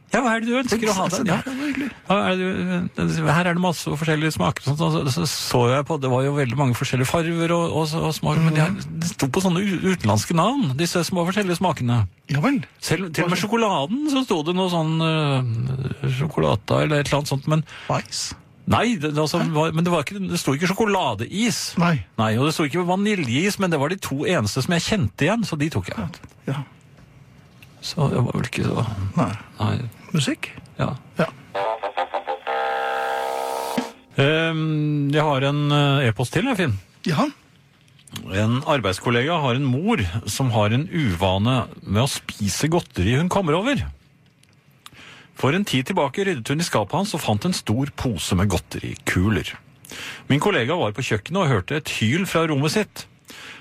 [SPEAKER 3] Ja, hva er det du ønsker å ha?
[SPEAKER 2] Se
[SPEAKER 3] Den?
[SPEAKER 2] der,
[SPEAKER 3] Ja.
[SPEAKER 2] det var hyggelig.
[SPEAKER 3] Ja, er det, her er det masse forskjellige smaker. og Sånt, og så, så så jeg på, Det var jo veldig mange forskjellige farver og, og, og smaker, men de,
[SPEAKER 2] Mm.
[SPEAKER 3] har- de sto på sånne u- utenlandske navn, disse små forskjellige smakene.
[SPEAKER 2] Ja vel.
[SPEAKER 3] Selv, til og med sjokoladen så sto det noe sånn øh, sjokolata eller et eller annet sånt, men
[SPEAKER 2] Spice.
[SPEAKER 3] nei, det, det, altså, var, men det, var ikke, det sto ikke sjokoladeis.
[SPEAKER 2] Nei.
[SPEAKER 3] Nei, og det sto ikke vaniljeis, men det var de to eneste som jeg kjente igjen, så de tok jeg.
[SPEAKER 2] Ja.
[SPEAKER 3] Så jeg var vel ikke så
[SPEAKER 2] Nei.
[SPEAKER 3] Nei,
[SPEAKER 2] Musikk?
[SPEAKER 3] ja.
[SPEAKER 2] Ja.
[SPEAKER 3] Ehm, jeg har en eh, e-post til, jeg, Finn.
[SPEAKER 2] Ja.
[SPEAKER 3] En arbeidskollega har en mor som har en uvane med å spise godteri hun kommer over. For en tid tilbake ryddet hun i skapet hans og fant en stor pose med godterikuler. Min kollega var på kjøkkenet og hørte et hyl fra rommet sitt.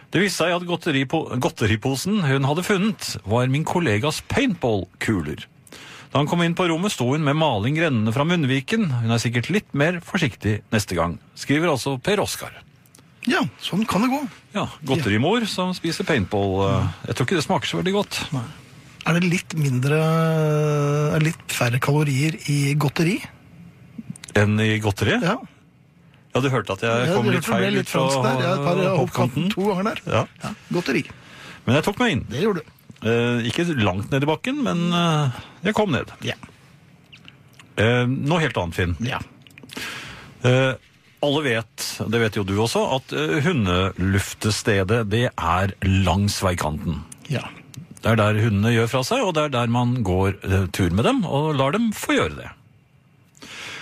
[SPEAKER 3] Det viste seg at godteripo godteriposen hun hadde funnet, var min kollegas paintballkuler. Da han kom inn på rommet, sto hun med maling rennende fra munnviken. Hun er sikkert litt mer forsiktig neste gang, skriver altså Per Oskar.
[SPEAKER 2] Ja, sånn kan det gå.
[SPEAKER 3] Ja, godterimor som spiser paintball. eh, Jeg tror ikke det smaker så veldig godt.
[SPEAKER 2] Er det litt mindre er det Litt færre kalorier i godteri?
[SPEAKER 3] Enn i godteri? Ja,
[SPEAKER 2] Ja.
[SPEAKER 3] du hørte at jeg
[SPEAKER 2] Ja,
[SPEAKER 3] kom
[SPEAKER 2] det
[SPEAKER 3] litt
[SPEAKER 2] ble
[SPEAKER 3] feil
[SPEAKER 2] litt
[SPEAKER 3] ut fra
[SPEAKER 2] fransk der. Ja, et par
[SPEAKER 3] eh,
[SPEAKER 2] hoppkanten to ganger der.
[SPEAKER 3] Ja.
[SPEAKER 2] Ja, Godteri.
[SPEAKER 3] Men jeg tok meg inn.
[SPEAKER 2] Det gjorde du.
[SPEAKER 3] Eh, Ikke langt ned i bakken, men eh, jeg kom ned.
[SPEAKER 2] Ja.
[SPEAKER 3] Eh, Noe helt annet, Finn.
[SPEAKER 2] ja.
[SPEAKER 3] Eh, Alle vet, det vet jo du også, at eh, hundeluftestedet, det er langs veikanten.
[SPEAKER 2] Ja.
[SPEAKER 3] Det er der hundene gjør fra seg, og det er der man går eh, tur med dem og lar dem få gjøre det.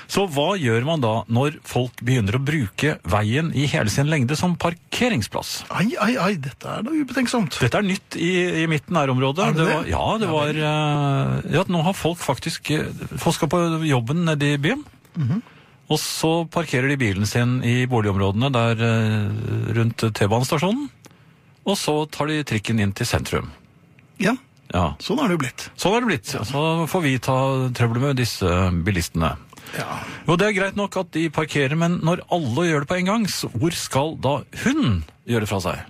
[SPEAKER 3] Så hva gjør man da når folk begynner å bruke veien i hele sin lengde som parkeringsplass?
[SPEAKER 2] Ai, ai, ai, dette er da ubetenksomt.
[SPEAKER 3] Dette er nytt i, i mitt nærområde.
[SPEAKER 2] Er det det?
[SPEAKER 3] var, ja, det var eh, ja, Nå har folk faktisk eh, Folk skal på jobben nede i byen.
[SPEAKER 2] Mhm.
[SPEAKER 3] Og så parkerer de bilen sin i boligområdene der eh, rundt T-banestasjonen. Og så tar de trikken inn til sentrum.
[SPEAKER 2] Ja,
[SPEAKER 3] Ja.
[SPEAKER 2] sånn er det jo blitt.
[SPEAKER 3] Sånn er det blitt. Så får vi ta trøbbel med disse bilistene.
[SPEAKER 2] Ja.
[SPEAKER 3] Jo, det er greit nok at de parkerer, men når alle gjør det på en gang, så hvor skal da hun gjøre fra seg?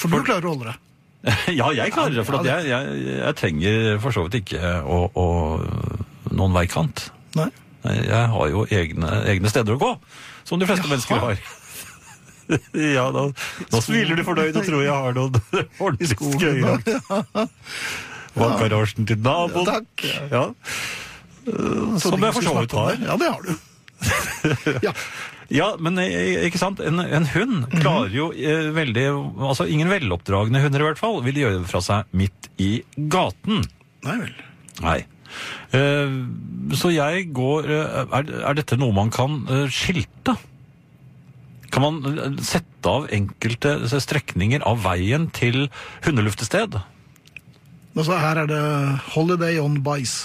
[SPEAKER 2] For du klarer å holde deg.
[SPEAKER 3] ja, jeg klarer det, for at jeg, jeg, jeg trenger for så vidt ikke å, å noen veikant.
[SPEAKER 2] Nei.
[SPEAKER 3] Nei, Jeg har jo egne, egne steder å gå, som de fleste
[SPEAKER 2] Jaha.
[SPEAKER 3] mennesker har. ja, da, nå smiler du fornøyd og tror jeg har noen ordentlig skøyer. Bakgarasjen til naboen.
[SPEAKER 2] Ja, takk.
[SPEAKER 3] Ja. Eh, Som jeg for så vidt har.
[SPEAKER 2] Ja, det har du. ja.
[SPEAKER 3] Ja, men eh, ikke sant? En, en hund klarer jo eh, veldig Altså ingen veloppdragne hunder i hvert fall vil gjøre det fra seg midt i gaten.
[SPEAKER 2] Nei vel.
[SPEAKER 3] Nei. Eh, så jeg går eh, er, er dette noe man kan eh, skilte? Kan man eh, sette av enkelte eh, strekninger av veien til hundeluftested?
[SPEAKER 2] Altså, her er det Holiday on Bice.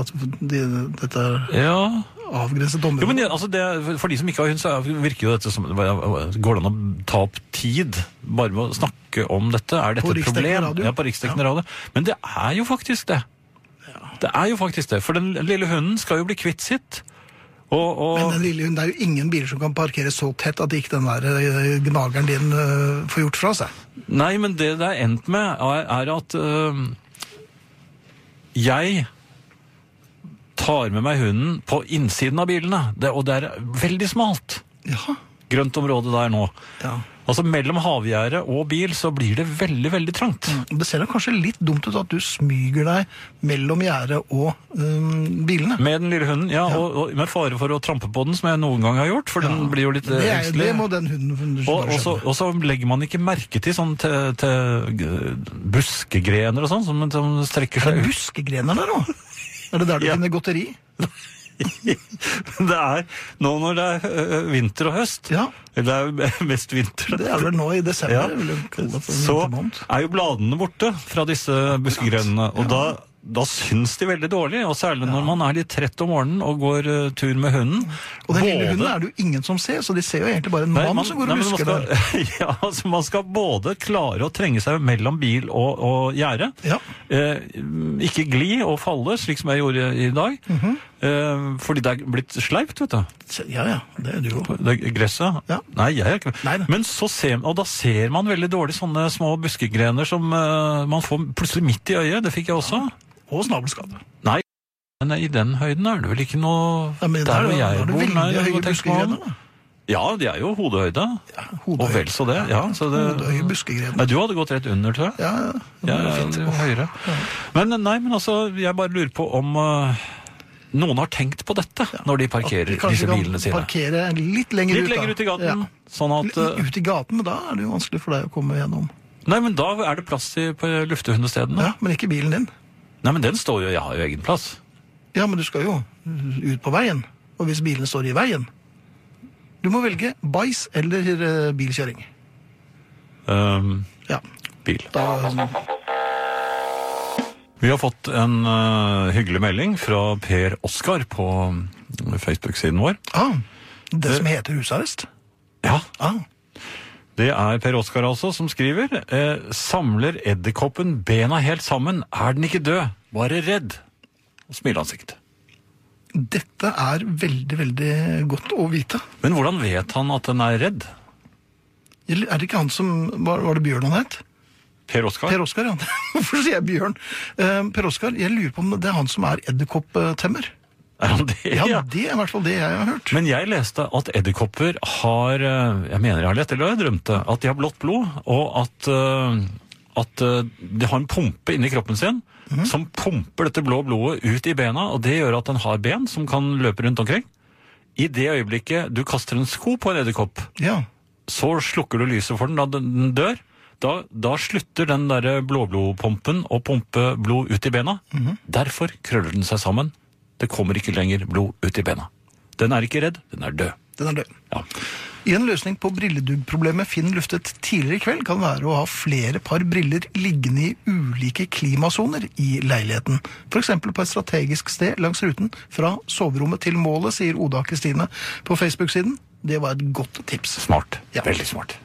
[SPEAKER 2] At de, dette er
[SPEAKER 3] Ja
[SPEAKER 2] avgrenset
[SPEAKER 3] Jo, men
[SPEAKER 2] område.
[SPEAKER 3] det, altså det, er- For de som ikke har hund, så er- virker jo dette som Går det an å ta opp tid bare med å snakke om dette? Er dette
[SPEAKER 2] På
[SPEAKER 3] et
[SPEAKER 2] riksdekkende
[SPEAKER 3] problem?
[SPEAKER 2] radio.
[SPEAKER 3] Ja, på riksdekkende radio. Men det er jo faktisk det. Det er jo faktisk det, for den lille hunden skal jo bli kvitt sitt. Og,
[SPEAKER 2] Men
[SPEAKER 3] og
[SPEAKER 2] den lille hunden, det er jo ingen biler som kan parkere så tett at ikke den der eh, gnageren din eh, får gjort fra seg.
[SPEAKER 3] Nei, men det det er endt med, er, er at øhm, jeg tar med meg hunden på innsiden av bilene, det, og det er veldig smalt.
[SPEAKER 2] Ja.
[SPEAKER 3] Grønt område der nå.
[SPEAKER 2] ja.
[SPEAKER 3] Altså mellom havgjerdet og bil så blir det veldig, veldig trangt.
[SPEAKER 2] Det ser da kanskje litt dumt ut at du smyger deg mellom gjerdet og eh, bilene.
[SPEAKER 3] Med den lille hunden, ja, Og, og med fare for å trampe på den, som jeg noen gang har gjort, for den blir jo litt eh,
[SPEAKER 2] Det, er,
[SPEAKER 3] engstelig.
[SPEAKER 2] det må den hunden
[SPEAKER 3] Og,
[SPEAKER 2] bare
[SPEAKER 3] og, så,
[SPEAKER 2] skjønne.
[SPEAKER 3] og så legger man ikke merke til sånn til, til g- buskegrener og sånn, som, som strekker
[SPEAKER 2] Det er
[SPEAKER 3] seg ut.
[SPEAKER 2] buskegrener der òg! Er det der du
[SPEAKER 3] Ja.
[SPEAKER 2] finner godteri?
[SPEAKER 3] Det er nå når det er ø, ø, vinter og høst,
[SPEAKER 2] Ja.
[SPEAKER 3] eller det er mest vinter,
[SPEAKER 2] Det er vel nå i desember?
[SPEAKER 3] Ja.
[SPEAKER 2] vil jeg kalle det for en
[SPEAKER 3] så
[SPEAKER 2] vintermåned.
[SPEAKER 3] er jo bladene borte fra disse buskegrenene, og da, da syns de veldig dårlig, og særlig når man er litt trett om morgenen og går ø, tur med hunden.
[SPEAKER 2] Og den lille hunden er det jo ingen som ser, så de ser jo egentlig bare en
[SPEAKER 3] Nei,
[SPEAKER 2] mann
[SPEAKER 3] man-
[SPEAKER 2] som går
[SPEAKER 3] nei,
[SPEAKER 2] og
[SPEAKER 3] men man
[SPEAKER 2] lusker
[SPEAKER 3] skal-
[SPEAKER 2] der.
[SPEAKER 3] Ja, altså man skal både klare å trenge seg mellom bil og, og gjerde.
[SPEAKER 2] Ja.
[SPEAKER 3] Eh, ikke gli og falle, slik som jeg gjorde i dag.
[SPEAKER 2] Mhm.
[SPEAKER 3] eh, fordi det er blitt sleipt, vet du.
[SPEAKER 2] Ja, ja, det er du jo.
[SPEAKER 3] Det gresset.
[SPEAKER 2] Ja.
[SPEAKER 3] Nei, jeg er ikke
[SPEAKER 2] Nei, nei.
[SPEAKER 3] Men så ser, og da ser man veldig dårlig sånne små buskegrener som eh, man får plutselig midt i øyet. Det fikk jeg også.
[SPEAKER 2] Og snabelskade.
[SPEAKER 3] Nei, men eh, i den høyden er det vel ikke noe
[SPEAKER 2] Ja, men der,
[SPEAKER 3] hvor
[SPEAKER 2] der er det
[SPEAKER 3] bor, nei,
[SPEAKER 2] veldig høye
[SPEAKER 3] hva tenker man?
[SPEAKER 2] buskegrener. da.
[SPEAKER 3] Ja, de er jo hodehøyde.
[SPEAKER 2] Ja,
[SPEAKER 3] Og vel så det, ja. Så det,
[SPEAKER 2] Hodehøye buskegrener.
[SPEAKER 3] Nei, du hadde gått rett under, tror jeg.
[SPEAKER 2] Ja,
[SPEAKER 3] Ja, ja, det var høyere. Men nei, men altså, jeg bare lurer på om eh, noen har tenkt på dette når de
[SPEAKER 2] at
[SPEAKER 3] parkerer
[SPEAKER 2] de kanskje
[SPEAKER 3] disse bilene
[SPEAKER 2] kan
[SPEAKER 3] sine.
[SPEAKER 2] parkere litt lenger
[SPEAKER 3] Litt
[SPEAKER 2] ut. da.
[SPEAKER 3] lenger ut i gaten,
[SPEAKER 2] Ja.
[SPEAKER 3] sånn at eh,
[SPEAKER 2] Ut i gaten, men da er det jo vanskelig for deg å komme gjennom.
[SPEAKER 3] Nei, men da er det plass til, på luftehundestedene.
[SPEAKER 2] Ja, Men ikke bilen din.
[SPEAKER 3] Nei, men den står jo Jeg har jo egen plass.
[SPEAKER 2] Ja, men du skal jo ut på veien. Og hvis bilen står i veien Du må velge bæsj eller eh, bilkjøring.
[SPEAKER 3] Ehm,
[SPEAKER 2] Ja,
[SPEAKER 3] bil.
[SPEAKER 2] da
[SPEAKER 3] Vi har fått en eh, hyggelig melding fra Per Oskar på mm, Facebook-siden vår.
[SPEAKER 2] ah, Det som heter husarrest?
[SPEAKER 3] Ja,
[SPEAKER 2] Ah,
[SPEAKER 3] Det er Per Oskar altså som skriver. Eh, samler edderkoppen bena helt sammen, er den ikke død, bare redd. Og Smileansikt.
[SPEAKER 2] dette er veldig, veldig godt å vite.
[SPEAKER 3] Men hvordan vet han at den er redd?
[SPEAKER 2] Eller Er det ikke han som Var, var det Bjørn han het?
[SPEAKER 3] Per Oskar?
[SPEAKER 2] Per Oskar, ja. Hvorfor sier jeg Bjørn? Eh, per Oskar, jeg lurer på om det er han som er edderkopptemmer.
[SPEAKER 3] Er han det?
[SPEAKER 2] Ja, det er i hvert fall det jeg har hørt.
[SPEAKER 3] Men jeg leste at edderkopper har eh, Jeg mener jeg har lett, eller jeg drømte. At de har blått blod, og at, eh, at eh, de har en pumpe inni kroppen sin som pumper dette blå blodet ut i bena, og det gjør at den har ben som kan løpe rundt omkring. I det øyeblikket du kaster en sko på en edderkopp,
[SPEAKER 2] Ja,
[SPEAKER 3] så slukker du lyset for den da den den dør. Da, da slutter den der blåblodpumpen å pumpe blod ut i bena. Derfor krøller den seg sammen. Det kommer ikke lenger blod ut i bena. Den er ikke redd, den er død.
[SPEAKER 2] den er død.
[SPEAKER 3] Ja.
[SPEAKER 2] En løsning på brilledubbproblemet Finn luftet tidligere i kveld, kan være å ha flere par briller liggende i ulike klimasoner i leiligheten. F.eks. på et strategisk sted langs ruten fra soverommet til målet, sier Oda Kristine på Facebook-siden. Det var et godt tips.
[SPEAKER 3] Smart.
[SPEAKER 2] Ja.
[SPEAKER 3] Veldig smart.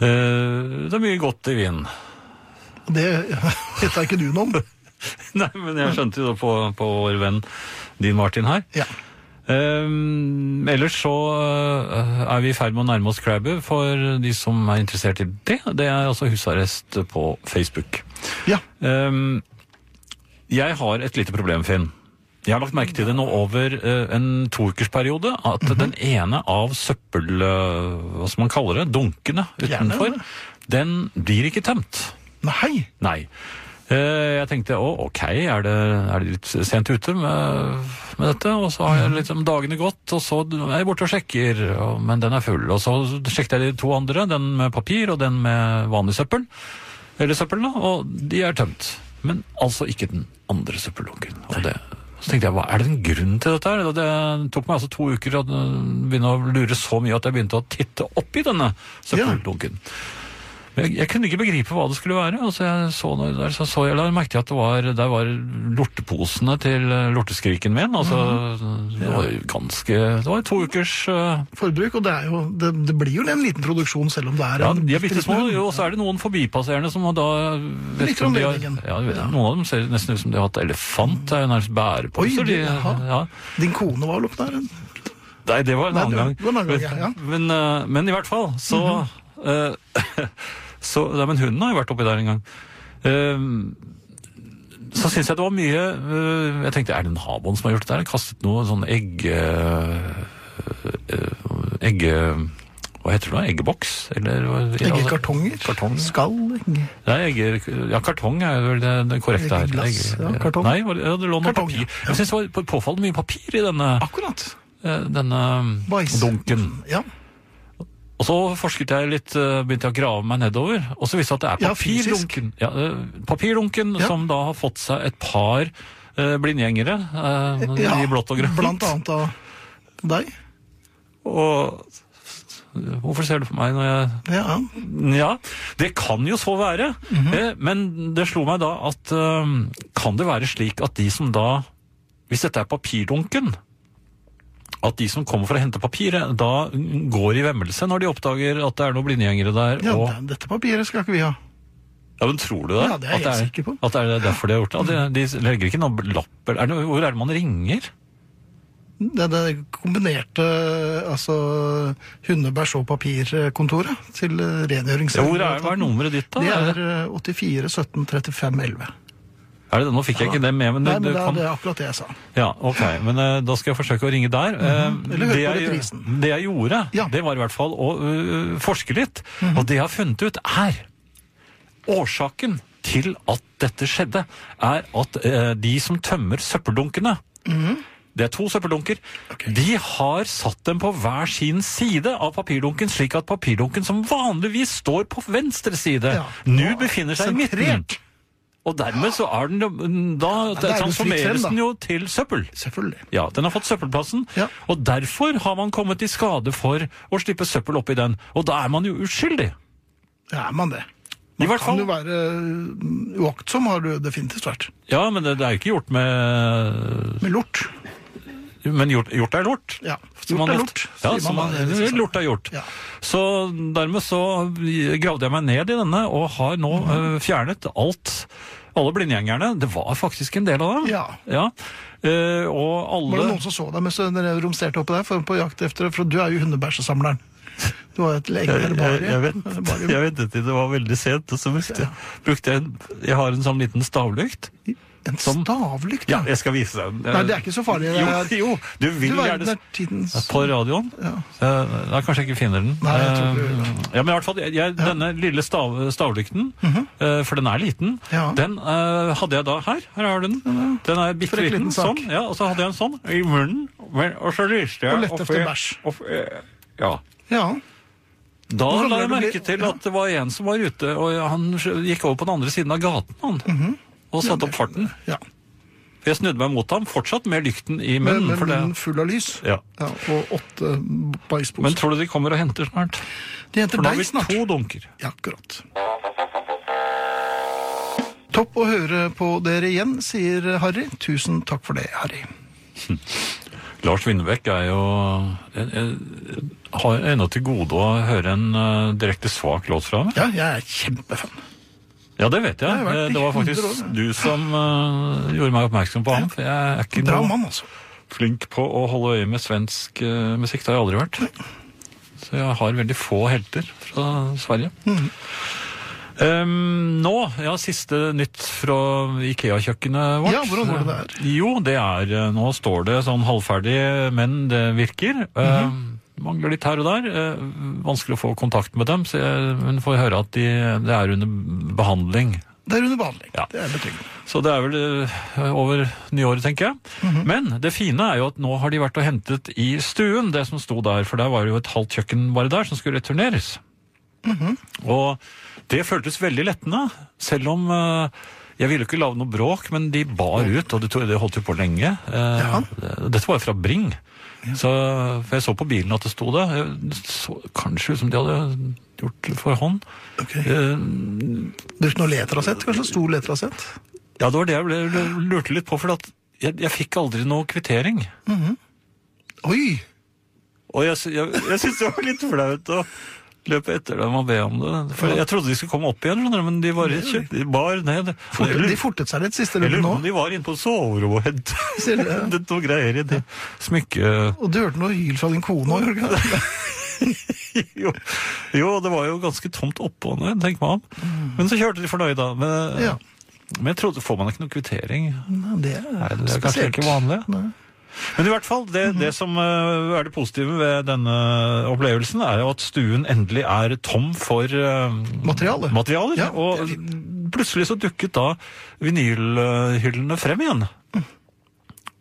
[SPEAKER 3] Eh, det er mye godt i vinen.
[SPEAKER 2] Det vet da ikke du noe om.
[SPEAKER 3] Nei, men jeg skjønte jo da på, på vår venn din Martin her.
[SPEAKER 2] Ja.
[SPEAKER 3] Ehm, ellers så eh, er vi i ferd med å nærme oss Krabbe for de som er interessert i det. Det er altså husarrest på Facebook.
[SPEAKER 2] ja.
[SPEAKER 3] Ehm, jeg har et lite problem, Finn. Jeg har lagt merke til det nå over eh, en toukersperiode at den ene av søppel... eh, hva skal man kalle det? Dunkene
[SPEAKER 2] Gjerne,
[SPEAKER 3] utenfor,
[SPEAKER 2] det.
[SPEAKER 3] den blir ikke tømt.
[SPEAKER 2] Nei!
[SPEAKER 3] Nei. Eh, Jeg tenkte å, ok, er det, er det litt sent ute med, med dette? Og så har jeg liksom dagene gått, og så er jeg borte og sjekker, og, men den er full. Og så sjekket jeg de to andre, den med papir og den med vanlig søppel. Eller søppel, da. Og de er tømt. Men altså ikke den andre søppeldunken. Og det, så tenkte jeg, hva, er det en grunn til dette her? Og Det tok meg altså to uker å begynne å lure så mye at jeg begynte å titte oppi denne søppeldunken. Men Jeg, jeg kunne ikke begripe hva det skulle være. Altså, jeg så noe der, så, så jeg la merke til at det var, der var lorteposene til eh, lorteskriken min. Altså, det var jo ganske Det var to ukers eh,
[SPEAKER 2] Forbruk, og det, er jo, det, det blir jo en liten produksjon, selv om det er
[SPEAKER 3] ja,
[SPEAKER 2] en
[SPEAKER 3] de er
[SPEAKER 2] bitte
[SPEAKER 3] bitte
[SPEAKER 2] liten
[SPEAKER 3] små,
[SPEAKER 2] hund.
[SPEAKER 3] og så er det noen forbipasserende som har da vet
[SPEAKER 2] Litt
[SPEAKER 3] ikke om de har-
[SPEAKER 2] omdelingen.
[SPEAKER 3] Ja, jeg vet, Noen av dem ser nesten ut som de har hatt elefant. Det er jo nærmest bæreposer.
[SPEAKER 2] Oi,
[SPEAKER 3] de,
[SPEAKER 2] det- jaha.
[SPEAKER 3] ja.
[SPEAKER 2] Din kone var vel oppe der? hun?
[SPEAKER 3] Nei, det var en
[SPEAKER 2] Nei,
[SPEAKER 3] annen
[SPEAKER 2] det var-
[SPEAKER 3] gang.
[SPEAKER 2] det var en annen gang, ja, Mhm.
[SPEAKER 3] men, men, eh, men i hvert fall, så, eh, så Nei, men hunden har jo vært oppi der en gang. Eh, så syns jeg det var mye eh, Jeg tenkte, er det en havbånd som har gjort det der? Kastet noe sånn egg... eh, eh, egg... Hva heter det da? Eggeboks? Eller hva-
[SPEAKER 2] Eggekartonger?
[SPEAKER 3] Kartong.
[SPEAKER 2] Skall? egg-
[SPEAKER 3] Nei, egger, ja, kartong er vel det, det korrekte her.
[SPEAKER 2] Glass,
[SPEAKER 3] Egger-
[SPEAKER 2] ja, kartong.
[SPEAKER 3] Nei, var det- ja, det lå noe
[SPEAKER 2] Kartong,
[SPEAKER 3] papir.
[SPEAKER 2] ja.
[SPEAKER 3] Jeg syns det var på- påfallende mye papir i denne,
[SPEAKER 2] Akkurat.
[SPEAKER 3] eh, denne
[SPEAKER 2] Bajs.
[SPEAKER 3] dunken.
[SPEAKER 2] Ja.
[SPEAKER 3] Og så forsket jeg litt, eh, begynte jeg å grave meg nedover, og så viste det at
[SPEAKER 2] Ja,
[SPEAKER 3] det er papirdunken. Ja, eh, papirdunken
[SPEAKER 2] Ja.
[SPEAKER 3] som da har fått seg et par eh, blindgjengere eh,
[SPEAKER 2] ja.
[SPEAKER 3] i blått og grønt.
[SPEAKER 2] Blant annet av deg.
[SPEAKER 3] Og Hvorfor ser du på meg når jeg
[SPEAKER 2] Ja.
[SPEAKER 3] Ja, det kan jo så være.
[SPEAKER 2] Mhm.
[SPEAKER 3] eh, Men det slo meg da at eh, kan det være slik at de som da Hvis dette er papirdunken at de som kommer for å hente papiret, da går i vemmelse når de oppdager at det er noen blindgjengere der.
[SPEAKER 2] ja
[SPEAKER 3] og...
[SPEAKER 2] det- Dette papiret skal ikke vi ha.
[SPEAKER 3] Ja, men Tror du det?
[SPEAKER 2] Ja, det er jeg
[SPEAKER 3] At
[SPEAKER 2] helt sikker på.
[SPEAKER 3] At det er derfor de har gjort det? At de, de legger ikke noen lapper er det, Hvor er det man ringer?
[SPEAKER 2] Det, det kombinerte altså, hundebæsj- og papirkontoret til eh,
[SPEAKER 3] Ja,
[SPEAKER 2] rengjøringssengen.
[SPEAKER 3] hvor er, hva er nummeret ditt, da?
[SPEAKER 2] Det
[SPEAKER 3] Er
[SPEAKER 2] er
[SPEAKER 3] det,
[SPEAKER 2] eh, 84 17 35 11.
[SPEAKER 3] er det, nå fikk jeg ikke det med, men,
[SPEAKER 2] Nei,
[SPEAKER 3] du-
[SPEAKER 2] men
[SPEAKER 3] du
[SPEAKER 2] det, er-
[SPEAKER 3] kan
[SPEAKER 2] det er akkurat det jeg sa.
[SPEAKER 3] Ja, ok, men eh, da skal jeg forsøke å ringe der. Eh,
[SPEAKER 2] Mhm. Eller hør på
[SPEAKER 3] det jeg-
[SPEAKER 2] reprisen.
[SPEAKER 3] Det jeg gjorde,
[SPEAKER 2] Ja. Mhm.
[SPEAKER 3] det var i hvert fall å eh, forske litt. Og det jeg har funnet ut er Årsaken til at dette skjedde, er at eh, de som tømmer søppeldunkene
[SPEAKER 2] Mhm.
[SPEAKER 3] Det er to søppeldunker. De har satt dem på hver sin side av papirdunken, slik at papirdunken som vanligvis står på venstre side,
[SPEAKER 2] Ja.
[SPEAKER 3] nå befinner seg i midten.
[SPEAKER 2] Sentrert.
[SPEAKER 3] Og dermed så er den jo- Da
[SPEAKER 2] det er jo fritt frem,
[SPEAKER 3] transformeres
[SPEAKER 2] da.
[SPEAKER 3] den jo til søppel.
[SPEAKER 2] Selvfølgelig.
[SPEAKER 3] Ja, den har fått søppelplassen,
[SPEAKER 2] Ja.
[SPEAKER 3] og derfor har man kommet i skade for å slippe søppel oppi den. Og da er man jo uskyldig.
[SPEAKER 2] Ja, er man det.
[SPEAKER 3] I hvert
[SPEAKER 2] Kan
[SPEAKER 3] fall.
[SPEAKER 2] du være eh, uaktsom, har du definitivt vært.
[SPEAKER 3] Ja, men det, det er jo ikke gjort med
[SPEAKER 2] Med lort.
[SPEAKER 3] Men gjort, gjort er lort.
[SPEAKER 2] Ja,
[SPEAKER 3] Som
[SPEAKER 2] gjort
[SPEAKER 3] man
[SPEAKER 2] er
[SPEAKER 3] ofte-
[SPEAKER 2] lort,
[SPEAKER 3] Ja,
[SPEAKER 2] sier
[SPEAKER 3] som
[SPEAKER 2] man
[SPEAKER 3] man,
[SPEAKER 2] da, i disse
[SPEAKER 3] lort er gjort.
[SPEAKER 2] Ja.
[SPEAKER 3] Så dermed så gravde jeg meg ned i denne, og har nå
[SPEAKER 2] Mhm.
[SPEAKER 3] eh, fjernet alt. Alle blindgjengerne. Det var faktisk en del av dem.
[SPEAKER 2] Ja.
[SPEAKER 3] Eh, og alle
[SPEAKER 2] Var det noen som så deg mens dere romsterte oppi der for, på jakt etter det? For du er jo hundebæsjesamleren. Du har jo et lege eller
[SPEAKER 3] jeg, jeg,
[SPEAKER 2] bare.
[SPEAKER 3] vent, jeg ventet til det var veldig sent, og så brukte, jeg- brukte jeg en Jeg har en sånn liten stavlykt.
[SPEAKER 2] En
[SPEAKER 3] som-
[SPEAKER 2] stavlykt?
[SPEAKER 3] Ja, jeg skal vise deg den.
[SPEAKER 2] Nei, det er ikke så farlig.
[SPEAKER 3] Jo,
[SPEAKER 2] Jeg-
[SPEAKER 3] jo du
[SPEAKER 2] Du
[SPEAKER 3] vil
[SPEAKER 2] verden
[SPEAKER 3] gjerne
[SPEAKER 2] er tidens
[SPEAKER 3] På radioen?
[SPEAKER 2] Ja.
[SPEAKER 3] Eh, Da kanskje jeg ikke finner den.
[SPEAKER 2] Nei, jeg tror ikke du-
[SPEAKER 3] Eh, ja, men i hvert fall, jeg, jeg, Denne lille stav, stavlykten, eh, for den er liten,
[SPEAKER 2] Mhm. Ja.
[SPEAKER 3] den eh, hadde jeg da her. Her har du den. Den er bitte
[SPEAKER 2] Frekk liten
[SPEAKER 3] liten.
[SPEAKER 2] sak.
[SPEAKER 3] Sånn, ja, og så hadde jeg en sånn i munnen, men, og så lyste jeg
[SPEAKER 2] Og lette
[SPEAKER 3] opp
[SPEAKER 2] efter
[SPEAKER 3] i-
[SPEAKER 2] bæsj.
[SPEAKER 3] opp i- Ja.
[SPEAKER 2] Ja.
[SPEAKER 3] Da
[SPEAKER 2] Hvorfor
[SPEAKER 3] la
[SPEAKER 2] ble
[SPEAKER 3] jeg
[SPEAKER 2] det
[SPEAKER 3] merke
[SPEAKER 2] bli-
[SPEAKER 3] til
[SPEAKER 2] ja.
[SPEAKER 3] at det var en som var ute, og han gikk over på den andre siden av gaten, han. Og satte opp farten.
[SPEAKER 2] Mhm. ja.
[SPEAKER 3] Jeg snudde meg mot ham, fortsatt med lykten i
[SPEAKER 2] Med,
[SPEAKER 3] munnen.
[SPEAKER 2] med
[SPEAKER 3] for det-
[SPEAKER 2] munnen full av lys.
[SPEAKER 3] Ja.
[SPEAKER 2] og åtte
[SPEAKER 3] Men
[SPEAKER 2] bæsjposer.
[SPEAKER 3] tror du de kommer og henter snart?
[SPEAKER 2] Det
[SPEAKER 3] For
[SPEAKER 2] heter
[SPEAKER 3] nå har
[SPEAKER 2] deg
[SPEAKER 3] vi
[SPEAKER 2] snart.
[SPEAKER 3] to dunker.
[SPEAKER 2] Ja, akkurat. Topp å høre på dere igjen, sier Harry. Tusen takk for det, Harry.
[SPEAKER 3] Lars Winnebekk er jo jeg, jeg, Har ennå til gode å høre en eh, direkte svak låt fra ham.
[SPEAKER 2] Ja, jeg er kjempefan.
[SPEAKER 3] Ja, det vet jeg.
[SPEAKER 2] har vært
[SPEAKER 3] Eh, det
[SPEAKER 2] i 100
[SPEAKER 3] var
[SPEAKER 2] år,
[SPEAKER 3] faktisk du som eh, gjorde meg oppmerksom på ham. For jeg er ikke
[SPEAKER 2] Bra
[SPEAKER 3] noe
[SPEAKER 2] mann, altså.
[SPEAKER 3] flink på å holde øye med svensk eh, musikk. Det har jeg aldri vært. Så jeg har veldig få helter fra Sverige.
[SPEAKER 2] Mm.
[SPEAKER 3] Ehm, nå, ja, siste nytt fra Ikea-kjøkkenet vårt.
[SPEAKER 2] Ja, hvordan går det der?
[SPEAKER 3] Jo, det er eh, Nå står det sånn halvferdig, men det virker. Ehm,
[SPEAKER 2] Mhm.
[SPEAKER 3] mangler litt her og der. Eh, vanskelig å få kontakt med dem, så jeg, men får høre at de, det er under behandling.
[SPEAKER 2] Det er under behandling.
[SPEAKER 3] Ja.
[SPEAKER 2] Det er betryggende.
[SPEAKER 3] Så det er vel eh, over nyåret, tenker jeg. Men det fine er jo at nå har de vært og hentet i stuen det som sto der, for der var det jo et halvt kjøkken bare der som skulle returneres. Og det føltes veldig lettende, selv om eh, jeg ville jo ikke lage noe bråk, men de bar ut, og det, tog, det holdt jo på lenge. Eh,
[SPEAKER 2] Ja.
[SPEAKER 3] Dette var jo fra Bring. Så, for jeg så på bilen at det sto det. Det så kanskje ut som de hadde gjort for hånd.
[SPEAKER 2] Ok.
[SPEAKER 3] Eh,
[SPEAKER 2] Brukt noe letrasett? Kanskje stor letrasett?
[SPEAKER 3] Ja, det var det jeg ble, ble- lurte litt på, for at jeg, jeg fikk aldri noe kvittering.
[SPEAKER 2] Oi!
[SPEAKER 3] Og jeg, sy- jeg, jeg syntes det var litt flaut å løpe etter dem og be om det. For jeg trodde de skulle komme opp igjen, skjønner du, men de bare kjøpte de bar ned. Og jeg
[SPEAKER 2] Fortet, de
[SPEAKER 3] lurer-
[SPEAKER 2] fortet seg litt siste
[SPEAKER 3] jeg
[SPEAKER 2] løpet
[SPEAKER 3] lurer på
[SPEAKER 2] nå.
[SPEAKER 3] om de var inne på soverommet og hentet
[SPEAKER 2] Ser du det?
[SPEAKER 3] hentet noe greier i det smykket.
[SPEAKER 2] Og du hørte noe hyl fra din kone òg, Jørgen?
[SPEAKER 3] Jo, jo, det var jo ganske tomt oppå nå, tenk meg om. Men så kjørte de fornøyd, da. Men,
[SPEAKER 2] Mm. Ja.
[SPEAKER 3] men jeg trodde, får man ikke noe kvittering?
[SPEAKER 2] Nei, Det
[SPEAKER 3] Nei,
[SPEAKER 2] er
[SPEAKER 3] det er kanskje
[SPEAKER 2] spesielt.
[SPEAKER 3] ikke vanlig.
[SPEAKER 2] Nei.
[SPEAKER 3] Men i hvert fall, det, det som eh, er det positive ved denne opplevelsen, er jo at stuen endelig er tom for eh,
[SPEAKER 2] Materiale.
[SPEAKER 3] materialer.
[SPEAKER 2] Ja,
[SPEAKER 3] og
[SPEAKER 2] det er
[SPEAKER 3] plutselig så dukket da vinylhyllene frem igjen.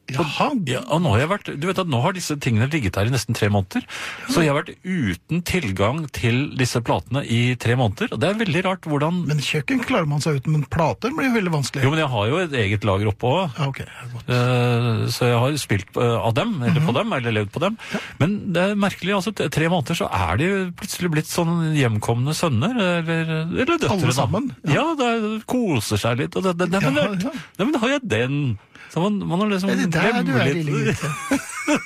[SPEAKER 2] Jaha.
[SPEAKER 3] Ja, og nå har jeg vært, du vet at nå har disse tingene ligget her i nesten tre måneder, så jeg har vært uten tilgang til disse platene i tre måneder, og det er veldig rart hvordan...
[SPEAKER 2] Men kjøkken klarer man seg uten, men plater blir jo veldig vanskelig.
[SPEAKER 3] Jo, men jeg har jo et eget lager oppe også.
[SPEAKER 2] Ja, ok, godt.
[SPEAKER 3] Eh, Så jeg har spilt eh, av dem,
[SPEAKER 2] Mhm.
[SPEAKER 3] eller på dem, eller levd på dem. Men det er merkelig, altså t- tre måneder så er de jo plutselig blitt sånn hjemkomne sønner, eller, eller døtre.
[SPEAKER 2] Alle
[SPEAKER 3] da.
[SPEAKER 2] sammen,
[SPEAKER 3] Ja, det koser seg litt. Og det, det, det, men,
[SPEAKER 2] Ja,
[SPEAKER 3] det-
[SPEAKER 2] ja.
[SPEAKER 3] Nei, men har jeg den? Så man, man har liksom
[SPEAKER 2] Er det der du er, lille
[SPEAKER 3] litt.
[SPEAKER 2] gutte?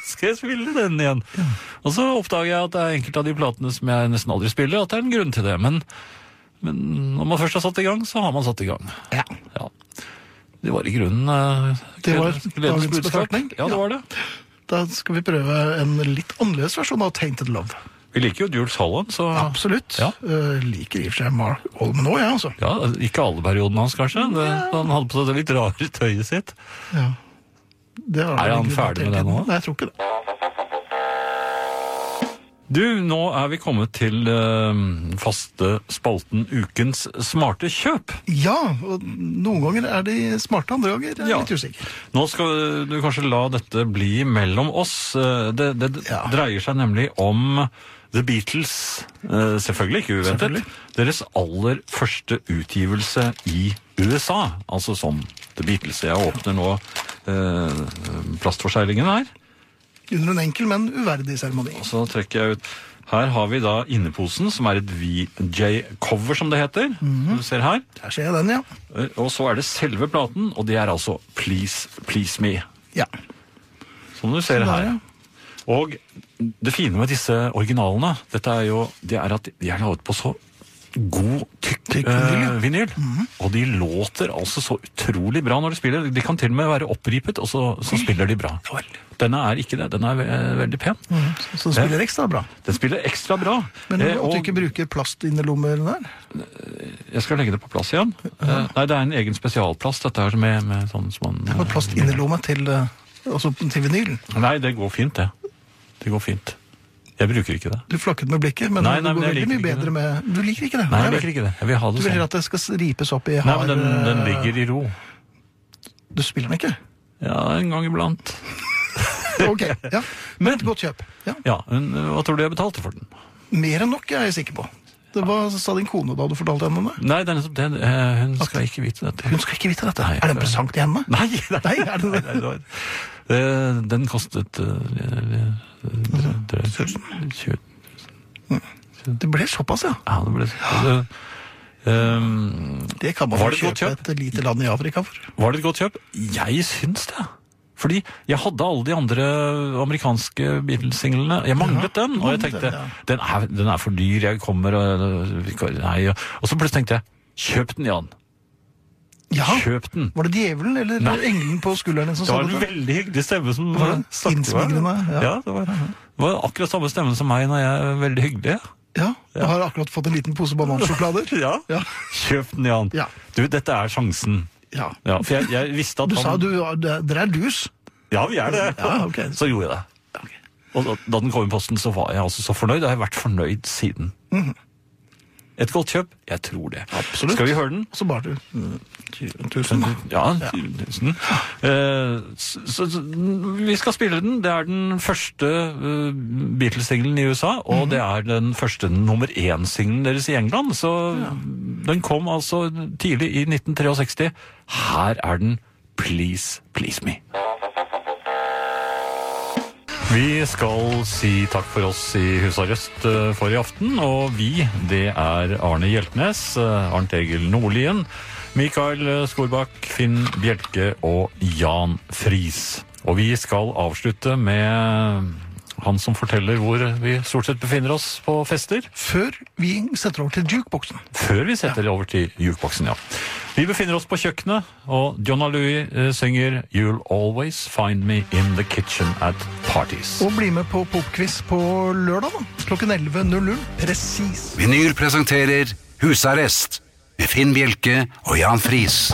[SPEAKER 3] Skal jeg spille den igjen? Og så oppdager jeg at det er enkelte av de platene som jeg nesten aldri spiller, at det er en grunn til det. Men, men når man først har satt i gang, så har man satt i gang.
[SPEAKER 2] Ja.
[SPEAKER 3] Ja. Det var i grunnen eh,
[SPEAKER 2] Det var
[SPEAKER 3] gledens-
[SPEAKER 2] dagens
[SPEAKER 3] gledens budskap.
[SPEAKER 2] betraktning.
[SPEAKER 3] Ja,
[SPEAKER 2] Ja.
[SPEAKER 3] det var det.
[SPEAKER 2] Da skal vi prøve en litt annerledes versjon av Tainted Love.
[SPEAKER 3] Vi liker jo Jules Holland, så
[SPEAKER 2] Absolutt.
[SPEAKER 3] Ja.
[SPEAKER 2] Eh, liker i og for seg Mark Holmen òg, jeg, ja, altså.
[SPEAKER 3] ja, Ikke alle periodene hans, kanskje. Det, Han hadde på seg det litt rare tøyet sitt.
[SPEAKER 2] Ja. Det har
[SPEAKER 3] Er han
[SPEAKER 2] en grunn
[SPEAKER 3] ferdig
[SPEAKER 2] til
[SPEAKER 3] med det
[SPEAKER 2] hele
[SPEAKER 3] nå?
[SPEAKER 2] tiden. Nei, jeg tror ikke det.
[SPEAKER 3] Du, nå er vi kommet til eh, faste spalten Ukens smarte kjøp.
[SPEAKER 2] Ja, og noen ganger er de smarte, andre ganger er jeg
[SPEAKER 3] Ja.
[SPEAKER 2] litt usikker.
[SPEAKER 3] Nå skal du kanskje la dette bli mellom oss. Eh, Det, det d-
[SPEAKER 2] Ja.
[SPEAKER 3] dreier seg nemlig om The Beatles, eh, selvfølgelig ikke uventet,
[SPEAKER 2] Selvfølgelig.
[SPEAKER 3] deres aller første utgivelse i USA, altså som The Beatles. Jeg åpner nå eh, plastforseglingen her,
[SPEAKER 2] Under en enkel, men uverdig seremoni.
[SPEAKER 3] og så trekker jeg ut. Her har vi da inneposen, som er et VJ-cover, som det heter.
[SPEAKER 2] Mhm.
[SPEAKER 3] Du ser her.
[SPEAKER 2] Der ser jeg den, ja.
[SPEAKER 3] Eh, Og så er det selve platen, og det er altså Please, Please Me.
[SPEAKER 2] Ja,
[SPEAKER 3] Som du ser
[SPEAKER 2] der,
[SPEAKER 3] her. Og det fine med disse originalene, dette er jo, det er at de er laget på så god, tykk,
[SPEAKER 2] Tykk vinyl,
[SPEAKER 3] eh,
[SPEAKER 2] Mhm.
[SPEAKER 3] vinyl. Og de låter altså så utrolig bra når de spiller. De kan til og med være oppripet, og så, så spiller de bra. Denne er ikke det. Den er ve veldig pen.
[SPEAKER 2] Mm. så så den spiller ekstra bra.
[SPEAKER 3] Den spiller ekstra bra.
[SPEAKER 2] Men
[SPEAKER 3] Eh,
[SPEAKER 2] at du ikke bruker plastinnerlommer der.
[SPEAKER 3] jeg skal legge det på plass igjen. Eh, nei, det er en egen spesialplast, dette her, med, med sånn som man
[SPEAKER 2] Og plastinnerlomme til, eh, altså til vinylen.
[SPEAKER 3] Nei, det går fint, det. Det går fint. Jeg bruker ikke det.
[SPEAKER 2] Du flakket med blikket, men
[SPEAKER 3] Nei,
[SPEAKER 2] det
[SPEAKER 3] nei, men
[SPEAKER 2] går
[SPEAKER 3] jeg
[SPEAKER 2] veldig mye
[SPEAKER 3] liker ikke
[SPEAKER 2] bedre
[SPEAKER 3] det.
[SPEAKER 2] med Du liker ikke det?
[SPEAKER 3] Nei, jeg
[SPEAKER 2] vel.
[SPEAKER 3] liker ikke det. Jeg vil ha
[SPEAKER 2] Du vil
[SPEAKER 3] det sånn.
[SPEAKER 2] heller at det skal ripes opp i
[SPEAKER 3] Nei,
[SPEAKER 2] hard
[SPEAKER 3] men den, den
[SPEAKER 2] eh,
[SPEAKER 3] ligger i ro.
[SPEAKER 2] Du spiller den ikke?
[SPEAKER 3] Ja, en gang iblant.
[SPEAKER 2] Ok, ja.
[SPEAKER 3] Men
[SPEAKER 2] Et godt kjøp. Ja.
[SPEAKER 3] ja, men, øh, hva tror du jeg betalte for den?
[SPEAKER 2] Mer enn nok er jeg sikker på. Det var, sa din kone da du fortalte henne om det.
[SPEAKER 3] Nei, det er nettopp det. Eh, Hun skal ikke vite dette.
[SPEAKER 2] Hun skal ikke vite dette.
[SPEAKER 3] Nei,
[SPEAKER 2] er det en presang til henne?
[SPEAKER 3] Nei,
[SPEAKER 2] Nei, er det det?
[SPEAKER 3] nei, det var, Eh, den kostet eh, eh, eh, 20
[SPEAKER 2] Det ble såpass, ja.
[SPEAKER 3] Ja, det ble det- Ehm,
[SPEAKER 2] Det kan man
[SPEAKER 3] Var
[SPEAKER 2] vel
[SPEAKER 3] det et godt
[SPEAKER 2] kjøpe et lite land i Afrika for.
[SPEAKER 3] Var det et godt kjøp? Jeg syns det. Fordi jeg hadde alle de andre amerikanske Beatles-singlene. Jeg manglet den, og jeg
[SPEAKER 2] manglet
[SPEAKER 3] tenkte
[SPEAKER 2] den, ja.
[SPEAKER 3] den er, den er for dyr, jeg kommer og vi kan- Nei. og- Og så plutselig tenkte jeg kjøp den, Jan.
[SPEAKER 2] Ja.
[SPEAKER 3] Kjøp den.
[SPEAKER 2] Var det djevelen eller
[SPEAKER 3] Nei.
[SPEAKER 2] engelen på skulderen din som
[SPEAKER 3] Det
[SPEAKER 2] sa
[SPEAKER 3] var en
[SPEAKER 2] dette?
[SPEAKER 3] veldig hyggelig stemme som
[SPEAKER 2] Var det?
[SPEAKER 3] snakket til meg.
[SPEAKER 2] Innsmigrende, ja.
[SPEAKER 3] Ja. det, var, det var akkurat samme stemme som meg når jeg er veldig hyggelig.
[SPEAKER 2] Ja, jeg har akkurat fått en liten pose banansjokolader.
[SPEAKER 3] Ja.
[SPEAKER 2] Ja.
[SPEAKER 3] Kjøp den, Jan.
[SPEAKER 2] Ja.
[SPEAKER 3] Du, dette er sjansen.
[SPEAKER 2] Ja.
[SPEAKER 3] Ja, for jeg, jeg visste at
[SPEAKER 2] Du
[SPEAKER 3] han
[SPEAKER 2] sa du, det- dere er dus.
[SPEAKER 3] Ja, vi er det.
[SPEAKER 2] Ja, ok.
[SPEAKER 3] Så gjorde jeg det. Og da, da den kom i posten, så var jeg altså så fornøyd. Og jeg har vært fornøyd siden. Et godt kjøp? Jeg tror det.
[SPEAKER 2] Mhm. Absolutt.
[SPEAKER 3] Skal vi høre den?
[SPEAKER 2] Og så bare du. mm, Tusen.
[SPEAKER 3] Ja, tusen. Eh, så, så, så, vi skal spille den. Det er den første eh, Beatles-singelen i USA, og det er den første nummer én-singelen deres i England. Så den kom altså tidlig i 1963. Her er den Please, Please Me. Vi skal si takk for oss i husarrest eh, for i aften, og vi, det er Arne Hjeltnes, eh, Arnt Egil Nordlien, Mikael eh, Skorbakk, Finn Bjelke og Jan Friis. Og vi skal avslutte med han som forteller hvor vi stort sett befinner oss på fester.
[SPEAKER 2] Før vi setter over til jukeboksen.
[SPEAKER 3] Før vi setter det over til jukeboksen, ja. Vi befinner oss på kjøkkenet, og John Louis synger You'll always find me in the kitchen at parties.
[SPEAKER 2] Og bli med på popquiz på lørdag, da. Klokken 11.00. Presis.
[SPEAKER 1] Vinyl presenterer Husarrest med Finn Bjelke og Jan Friis.